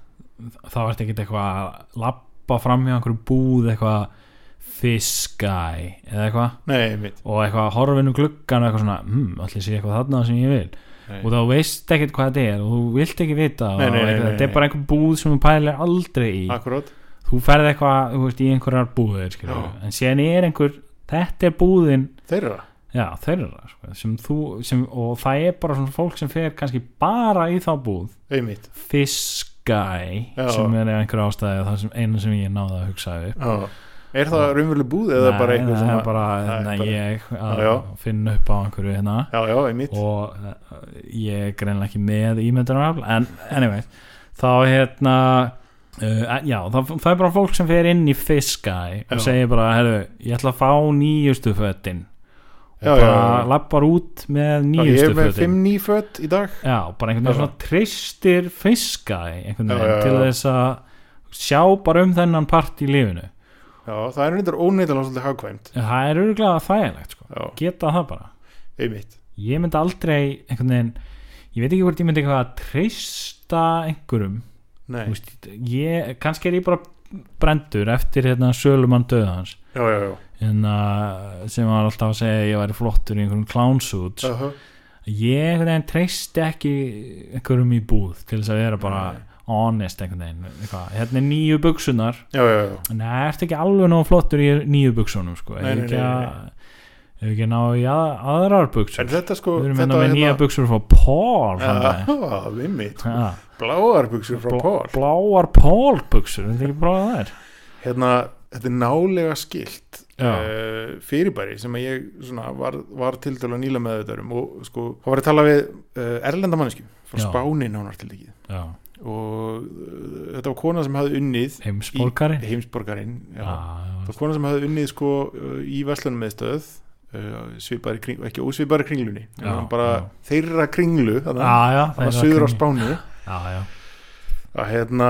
Speaker 6: þá ertu ekkert eitthvað að lappa fram hjá einhverju búð eitthvað fiskæ eða eitthvað
Speaker 5: Nei, mitt
Speaker 6: og eitthvað horfinn um gluggan og eitthvað svona, hmm, allir sé eitthvað þarna sem ég vil
Speaker 5: Nei.
Speaker 6: og þá veist ekkert hvað þetta er og þú vilt ekki vita
Speaker 5: Nei, nei,
Speaker 6: og
Speaker 5: nei,
Speaker 6: eitthvað,
Speaker 5: nei,
Speaker 6: þetta
Speaker 5: nei.
Speaker 6: er bara einhver búð sem þú pælir aldrei í
Speaker 5: Akkurát
Speaker 6: þú ferð eitthvað, þú veist, í einhverjar búðir skilur,
Speaker 5: Já.
Speaker 6: en síðan er einhver þetta er búðin,
Speaker 5: Þeirra
Speaker 6: já, þeirra sko, sem þú, sem, og það er bara svona fólk sem fer kannski bara í þá búð
Speaker 5: Einmitt
Speaker 6: fiskæ
Speaker 5: Já.
Speaker 6: sem er einhver ástæði það sem einu sem ég náði að hugsa upp
Speaker 5: Já Er það raunveruleg búð eða
Speaker 6: Nei,
Speaker 5: bara eitthvað
Speaker 6: það
Speaker 5: svona
Speaker 6: er bara,
Speaker 5: það er
Speaker 6: nei,
Speaker 5: bara-
Speaker 6: ég að
Speaker 5: Já, já.
Speaker 6: finna upp á einhverju hérna
Speaker 5: Já, já, einmitt
Speaker 6: og uh, ég er greinlega ekki með ímyndunarafl en anyway þá hérna uh, en já, það, það er bara fólk sem fer inn í fiskæ og
Speaker 5: Já.
Speaker 6: segir bara herru, ég ætla að fá nýjustu fötin og
Speaker 5: Já, já,
Speaker 6: bara
Speaker 5: já, já.
Speaker 6: lappar út með
Speaker 5: Já, Ég er
Speaker 6: nýjustu
Speaker 5: með
Speaker 6: fötin
Speaker 5: fimm nýfött í dag
Speaker 6: já, bara einhvern veginn
Speaker 5: Já.
Speaker 6: svona treystir fiskæ einhvern
Speaker 5: Já,
Speaker 6: veginn
Speaker 5: já, já.
Speaker 6: til þess að sjá bara um þennan part í lífinu
Speaker 5: Já, það er reyndar óneitanlega svolítið hagkvæmt
Speaker 6: það er örgulega þægilegt sko.
Speaker 5: Já,
Speaker 6: geta það bara
Speaker 5: einmitt
Speaker 6: ég myndi aldrei einhvern veginn ég veit ekki hvort ég myndi eitthvað að treysta einhverjum
Speaker 5: Nei
Speaker 6: Þú veist, ég, kannski er ég bara brendur eftir hérna sölumann döðans
Speaker 5: Já, já, já
Speaker 6: hérna, sem var alltaf að segja að ég væri flottur í einhverjum clownsúts
Speaker 5: Aha.
Speaker 6: ég einhvern veginn treysti ekki einhverjum í búð til þess að vera bara honest einhvern veginn eitthvað. hérna er nýju buksunar
Speaker 5: Já, já, já
Speaker 6: Nei, ertu ekki alveg nóg flottur í nýju buksunum sko.
Speaker 5: Nei, nei,
Speaker 6: hefur ekki,
Speaker 5: nei,
Speaker 6: að- hefur ekki náðu í að, aðrar
Speaker 5: En
Speaker 6: buksur
Speaker 5: þetta sko
Speaker 6: við erum
Speaker 5: þetta
Speaker 6: hérna með nýja buksur frá Paul framfæði.
Speaker 5: Já, einmitt
Speaker 6: Já,
Speaker 5: Bláar buksur frá
Speaker 6: blá-
Speaker 5: Pól
Speaker 6: bláar Paul buksur, þetta er ekki bara það
Speaker 5: Hérna, þetta er nálega skilt
Speaker 6: Já.
Speaker 5: uh, fyrirbæri sem að ég svona, var, var til dæla nýla með þetta um og sko, þá var ég að tala við uh, erlenda mannesku frá
Speaker 6: Já.
Speaker 5: Spáni nánar til ekki
Speaker 6: já,
Speaker 5: og uh, þetta var kona sem hafði unnið
Speaker 6: heimsborgari
Speaker 5: í heimsborgarinn já.
Speaker 6: Já,
Speaker 5: það var kona sem hafði unnið sko uh, í verslunum með stöð uh, svipaðri kring, ekki ósvipaðri kringlunni
Speaker 6: Já,
Speaker 5: já, bara
Speaker 6: já.
Speaker 5: þeirra kringlu þannig
Speaker 6: já, já, það
Speaker 5: að
Speaker 6: er
Speaker 5: söður á
Speaker 6: kringi.
Speaker 5: Spáni
Speaker 6: Já, já,
Speaker 5: að hérna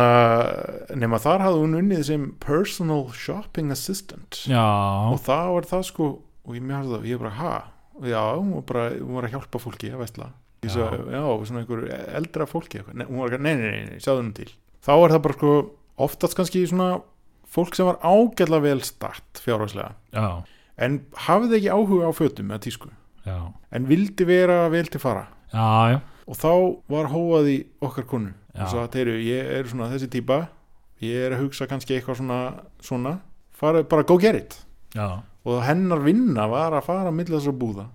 Speaker 5: nema þar hafði hún unnið sem personal shopping assistant
Speaker 6: já,
Speaker 5: og það var það sko og ég mér hafði það, ég bara ha já, hún var bara, hún var að hjálpa fólki að vestla ég
Speaker 6: Já.
Speaker 5: sagði, já, svona einhver eldra fólki eitthvað, Nei, hún var ekki, nei, nei, nei, nei, sjáðu hún til þá er það bara sko, oftast kannski svona fólk sem var ágætlega vel start fjárhagslega,
Speaker 6: já,
Speaker 5: en hafði ekki áhuga á fötum eða tísku,
Speaker 6: já,
Speaker 5: en vildi vera vel til fara
Speaker 6: já, já,
Speaker 5: og þá var hóað í okkar konu
Speaker 6: Já.
Speaker 5: og svo að þeirru, ég er svona þessi típa ég er að hugsa kannski eitthvað svona svona, fara, bara go get it
Speaker 6: já,
Speaker 5: og hennar vinna var að fara að milla þessar búða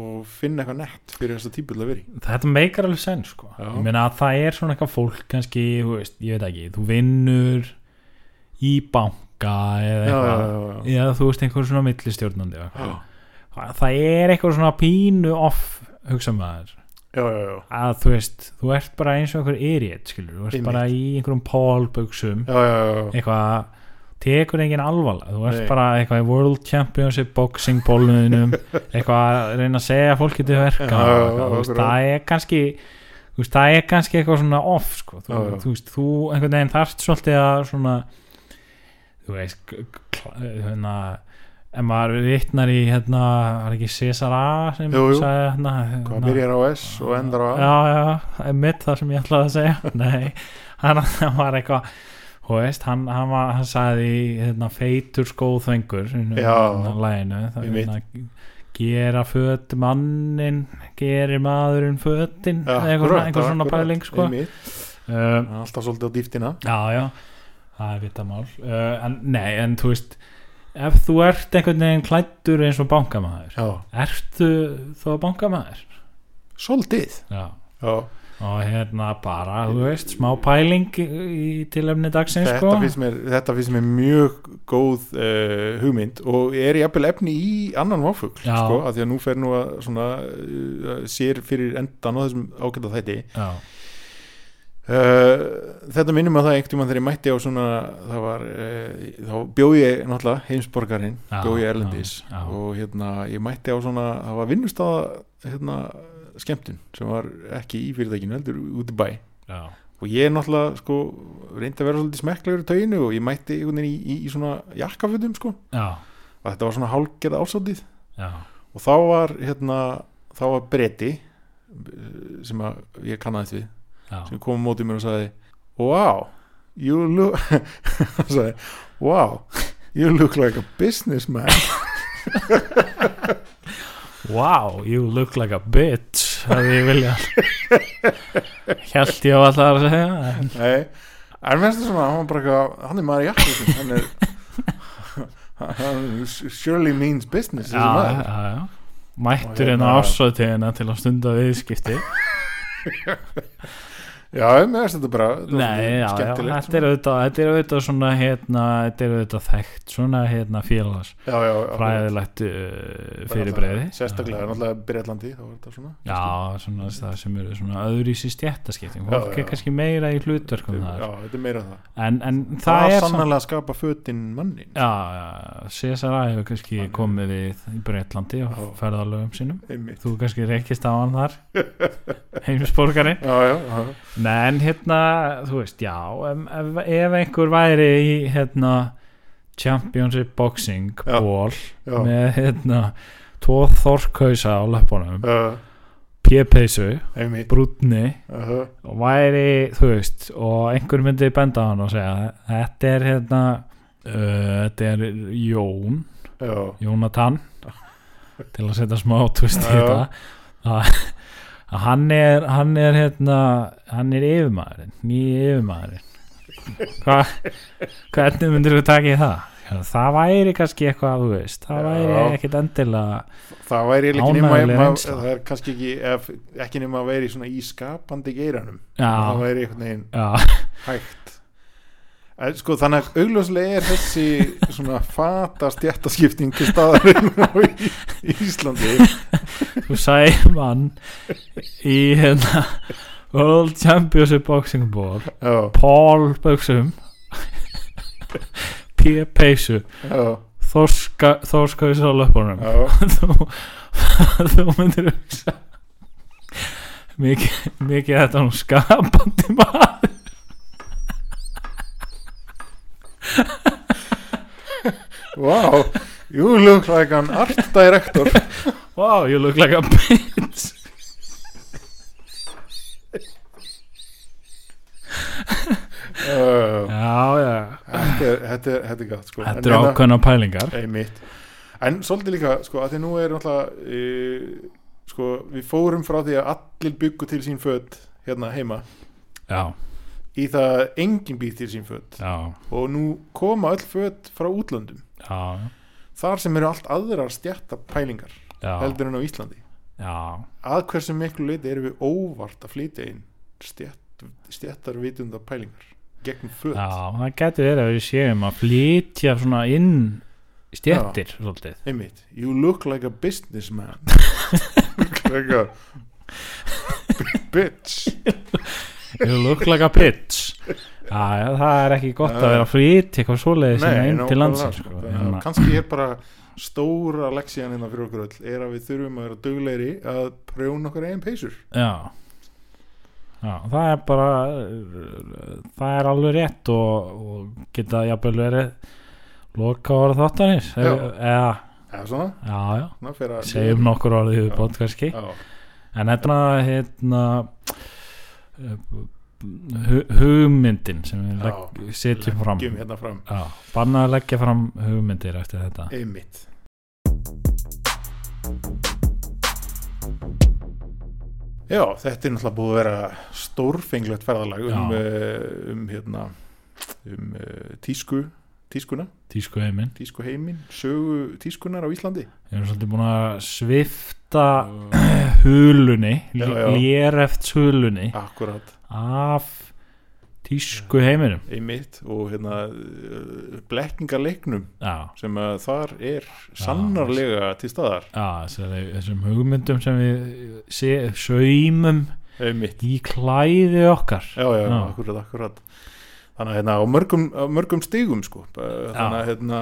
Speaker 5: og finna eitthvað nett fyrir þessa típu til að vera í
Speaker 6: þetta meikar alveg senn sko.
Speaker 5: Já.
Speaker 6: ég meina að það er svona eitthvað fólk kannski, þú veist, ég veit ekki þú vinnur í banka eða eitthvað
Speaker 5: já,
Speaker 6: Já, þú veist einhver svona millistjórnandi eða
Speaker 5: já,
Speaker 6: eitthvað. það er eitthvað svona pínu off hugsa maður
Speaker 5: já, já, já.
Speaker 6: að þú veist, þú ert bara eins og einhver idiot, skilur, þú ert
Speaker 5: Einmitt.
Speaker 6: bara í einhverjum pólbuksum,
Speaker 5: Já, já, já, já.
Speaker 6: eitthvað tekur enginn alvarlega, þú ert
Speaker 5: Nei.
Speaker 6: bara eitthvað í World Championship Boxing bólunum, eitthvað að reyna að segja fólki til verka, og
Speaker 5: Já, já,
Speaker 6: eitthvað, þú veist,
Speaker 5: akkurat.
Speaker 6: það er kannski þú veist, það er kannski eitthvað svona off, sko, þú,
Speaker 5: Já, já.
Speaker 6: þú veist, þú einhvern veginn þarft svolítið að svona þú veist k- kla- hérna en maður vittnar í hérna, var ekki César A sem
Speaker 5: Jú, jú.
Speaker 6: sagði hérna,
Speaker 5: hvað
Speaker 6: hérna
Speaker 5: byrjar á S og endar á A
Speaker 6: já, já, mitt það sem ég ætlaði að segja nei, hann, hann var eitthvað þú veist, hann, hann, var, hann sagði hérna, feitur skóðfengur
Speaker 5: Já.
Speaker 6: læginu, hérna, það, hérna,
Speaker 5: Einmitt.
Speaker 6: gera föt mannin gerir maðurinn fötin
Speaker 5: Já,
Speaker 6: eitthvað svona,
Speaker 5: akkurat,
Speaker 6: eitthvað svona
Speaker 5: akkurat,
Speaker 6: pæling sko.
Speaker 5: einmitt.
Speaker 6: um,
Speaker 5: alltaf svolítið á dýftina
Speaker 6: já, já, það er vita mál uh, en, nei, en þú veist ef þú ert einhvern veginn klættur eins og bankamæður
Speaker 5: já,
Speaker 6: ertu þá bankamæður
Speaker 5: svolítið
Speaker 6: já
Speaker 5: já.
Speaker 6: og hérna bara, þú veist, smá pæling í tilöfni dagsins
Speaker 5: Þetta,
Speaker 6: sko
Speaker 5: finnst mér, þetta finnst mér mjög góð uh, hugmynd og er jafnvel efni í annan váfugl
Speaker 6: Já.
Speaker 5: sko, að því að nú fer nú að svona, uh, sér fyrir endan á þessum ágæta þætti
Speaker 6: já,
Speaker 5: uh, Þetta minnum að það einhvern tímann þegar ég mætti á svona það var, uh, þá bjó ég náttúrulega heimsborgarinn,
Speaker 6: Já,
Speaker 5: bjó ég erlendis
Speaker 6: já, já.
Speaker 5: og hérna ég mætti á svona það var vinnustafa hérna, skemmtun sem var ekki í fyrirtækinu heldur út í bæ
Speaker 6: já,
Speaker 5: og ég er náttúrulega sko reyndi að vera svolítið smekklegur í tauginu og ég mætti einhvern veginn í, í, í svona jakkafutum sko
Speaker 6: já,
Speaker 5: og þetta var svona hálgerða ásátið
Speaker 6: já,
Speaker 5: og þá var hérna þá var breyti eh, sem að ég kannaðist við
Speaker 6: Já.
Speaker 5: sem kom á móti mér og sagði wow, you look hann sagði, wow you look like a businessman
Speaker 6: Wow, you look like a bitch hefði ég viljað Hjælt ég á alltaf að segja það, en
Speaker 5: nei, en mér finnst það svona hann var bara eitthvað, hann er maður í jakkafutum hann er hann surely means business þessi
Speaker 6: Já,
Speaker 5: maður.
Speaker 6: já, já Mættur
Speaker 5: Og
Speaker 6: hérna
Speaker 5: hérna-
Speaker 6: ásöðtíðina til að stunda viðskipti
Speaker 5: já, mér finnst þetta bara þetta var
Speaker 6: Nei, já, já,
Speaker 5: skemmtilegt
Speaker 6: þetta er auðvitað þetta er auðvitað svona hérna, þetta er auðvitað þekkt svona hérna félags
Speaker 5: já, já, já,
Speaker 6: fræðilegt uh, fyrirbreiði
Speaker 5: sérstaklega, náttúrulega Breitlandi þá var þetta svona
Speaker 6: Já, svona það sem eru svona öðruvísi stjættaskipting
Speaker 5: Já,
Speaker 6: fólk
Speaker 5: já.
Speaker 6: er kannski meira í hlutverkum
Speaker 5: já,
Speaker 6: þar
Speaker 5: þetta er meira það
Speaker 6: en, en það,
Speaker 5: það
Speaker 6: er
Speaker 5: var
Speaker 6: samt-
Speaker 5: sannlega að skapa fötin mannin
Speaker 6: Já, já, CSRA hefur kannski komið við í Breitlandi og
Speaker 5: Já.
Speaker 6: ferðalögum sínum
Speaker 5: einmitt
Speaker 6: þú kannski reykist á hann þar heimsborgari
Speaker 5: já, já, já,
Speaker 6: Nei, en hérna, þú veist, já em- ef, ef einhver væri í hérna Championship Boxing
Speaker 5: Já,
Speaker 6: ból
Speaker 5: já.
Speaker 6: með hérna tvo þorkausa á löpunum
Speaker 5: Uh,
Speaker 6: p-peysu,
Speaker 5: einmitt
Speaker 6: brúnni
Speaker 5: uh -huh.
Speaker 6: og væri, þú veist og einhver myndi benda á hann og segja þetta er hérna uh, þetta er Jón
Speaker 5: já,
Speaker 6: Jónatan til að setja smá twist í
Speaker 5: Já.
Speaker 6: þetta að að hann er hann er hérna hann er yfirmaðurinn, nýji yfirmaðurinn Hva, hvernig myndir þú taka í það? Já, það væri kannski eitthvað, þú veist það væri
Speaker 5: Já.
Speaker 6: ekkit endilega
Speaker 5: það væri eiginlega ekki nema
Speaker 6: Ánægjuleg
Speaker 5: ma-
Speaker 6: reynsla.
Speaker 5: það er kannski ekki, ef, ekki nema að vera í svona í skapandi geiranum það
Speaker 6: já,
Speaker 5: væri einhvern veginn
Speaker 6: já,
Speaker 5: hægt En, sko, þannig að augljóslega er þessi svona fata stjættaskipting til staðarinn og í, í Íslandi
Speaker 6: þú sæði mann í hérna World Championship Boxing Ball
Speaker 5: já,
Speaker 6: Paul Böksum P-Peysu
Speaker 5: já,
Speaker 6: Þorskaus á löpunum
Speaker 5: já,
Speaker 6: þú, þú myndir hugsa mikið, mikið þetta er nú skapandi maður
Speaker 5: wow you look like an art director
Speaker 6: wow, you look like a bitch
Speaker 5: uh,
Speaker 6: já, já,
Speaker 5: þetta, er- þetta, er- þetta er gott sko. En
Speaker 6: þetta eru
Speaker 5: hérna-
Speaker 6: ákveðna pælingar
Speaker 5: einmitt en svolítið líka, sko, að því nú er náttúrulega e, sko, við fórum frá því að allir byggu til sín föt hérna heima,
Speaker 6: já,
Speaker 5: í það að enginn býr til sín föt
Speaker 6: já,
Speaker 5: og nú koma öll föt frá útlöndum
Speaker 6: já
Speaker 5: þar sem eru allt aðrar stjættapælingar
Speaker 6: já,
Speaker 5: heldur en á Íslandi
Speaker 6: já,
Speaker 5: að hversu miklu leiti erum við óvart að flytja inn stjætt, stjættarvitunda pælingar gegn föt
Speaker 6: já það getur verið að við séum að flytja svona inn stjettir, svolítið
Speaker 5: einmitt, you look like a businessman look like a bitch
Speaker 6: You look like a bitch Já, já, það er ekki gott að vera frýtt eitthvað svoleiðis hérna inn til
Speaker 5: nákvæmlega,
Speaker 6: landsins
Speaker 5: sko.
Speaker 6: sko.
Speaker 5: Þannig að
Speaker 6: hérna.
Speaker 5: kannski er bara stóra leksíðan innan fyrir okkur öll er að við þurfum að vera dugleiri að prjóna okkur eigin peysur
Speaker 6: Já Já, það er bara uh, það er alveg rétt og, og geta jafnvel verið loka orð þáttanir
Speaker 5: Já.
Speaker 6: eða,
Speaker 5: eða svona,
Speaker 6: já, já,
Speaker 5: svona fyrir að
Speaker 6: segjum nokkur orðið við bótt kannski,
Speaker 5: já,
Speaker 6: en þetta er hérna uh, hu- hugmyndin sem við legg, setjum fram
Speaker 5: gefum hérna fram
Speaker 6: Já, bannað að leggja fram hugmyndir eftir þetta
Speaker 5: einmitt Já, þetta er náttúrulega búið að vera stórfenglegt ferðalag um,
Speaker 6: Já.
Speaker 5: eh, um hérna um eh, tísku tískuna,
Speaker 6: tísku heiminn
Speaker 5: tísku heimin sögu tískunar á Íslandi
Speaker 6: við erum svolítið búin að svifta hulunni
Speaker 5: Já, já.
Speaker 6: léreft hulunni
Speaker 5: akkurat
Speaker 6: af tísku heiminum
Speaker 5: einmitt og hérna uh, blekkingarleiknum
Speaker 6: já,
Speaker 5: sem að þar er sannarlega til staðar
Speaker 6: já þessari, þessum hugmyndum sem við se, saumum
Speaker 5: einmitt,
Speaker 6: í klæði okkar
Speaker 5: já já,
Speaker 6: Já.
Speaker 5: akkurat, akkurat þannig að hérna á mörgum, á mörgum stigum sko, Bara, þannig að hérna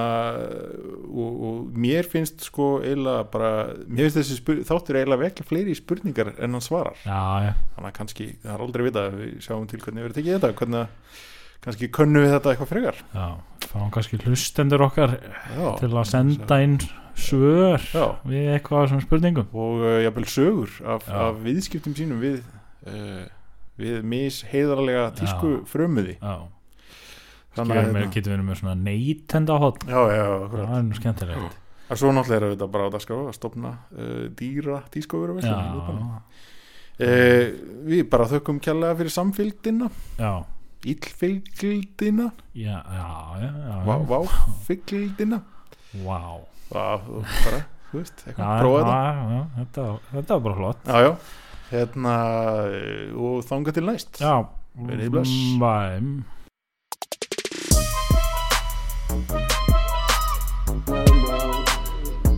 Speaker 5: og, og mér finnst sko eiginlega bara, mér finnst þessi spur, þáttur eiginlega vekla fleiri spurningar en hann svarar
Speaker 6: já, já,
Speaker 5: þannig að kannski, það er aldrei vita við sjáum til hvernig verið tekið þetta hvernig að kannski könnum við þetta eitthvað frekar
Speaker 6: já fáum kannski hlustendur okkar
Speaker 5: já,
Speaker 6: til að senda inn svör
Speaker 5: já
Speaker 6: við eitthvað af þessum spurningum
Speaker 5: og uh, jafnvel sögur af,
Speaker 6: Já.
Speaker 5: af viðskiptum sínum við uh, við misheiðarlega tísku frömmuði
Speaker 6: já
Speaker 5: þannig að
Speaker 6: Gerum við,
Speaker 5: hérna,
Speaker 6: getum verið með svona neytenda hotn
Speaker 5: já, já, akkurat
Speaker 6: Það er nú skemmtilegt
Speaker 5: En svo náttúrulega er þetta bara á dagskrá að stopna uh, dýra tískoveru
Speaker 6: Já,
Speaker 5: uh, Eh, Við bara þökkum kjærlega fyrir samfylgdina
Speaker 6: já,
Speaker 5: illfylgdina
Speaker 6: já, já, já, já.
Speaker 5: váfylgdina
Speaker 6: Vá
Speaker 5: Vá, þú bara, þú veist,
Speaker 6: Já,
Speaker 5: eitthvað, prófa þetta
Speaker 6: já, já, þetta Þetta var bara flott
Speaker 5: Já, já, hérna eh, og þanga til næst
Speaker 6: Já,
Speaker 5: Verið bless.
Speaker 6: Væm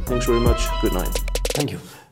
Speaker 4: Thanks very much. Good night.
Speaker 3: Thank you.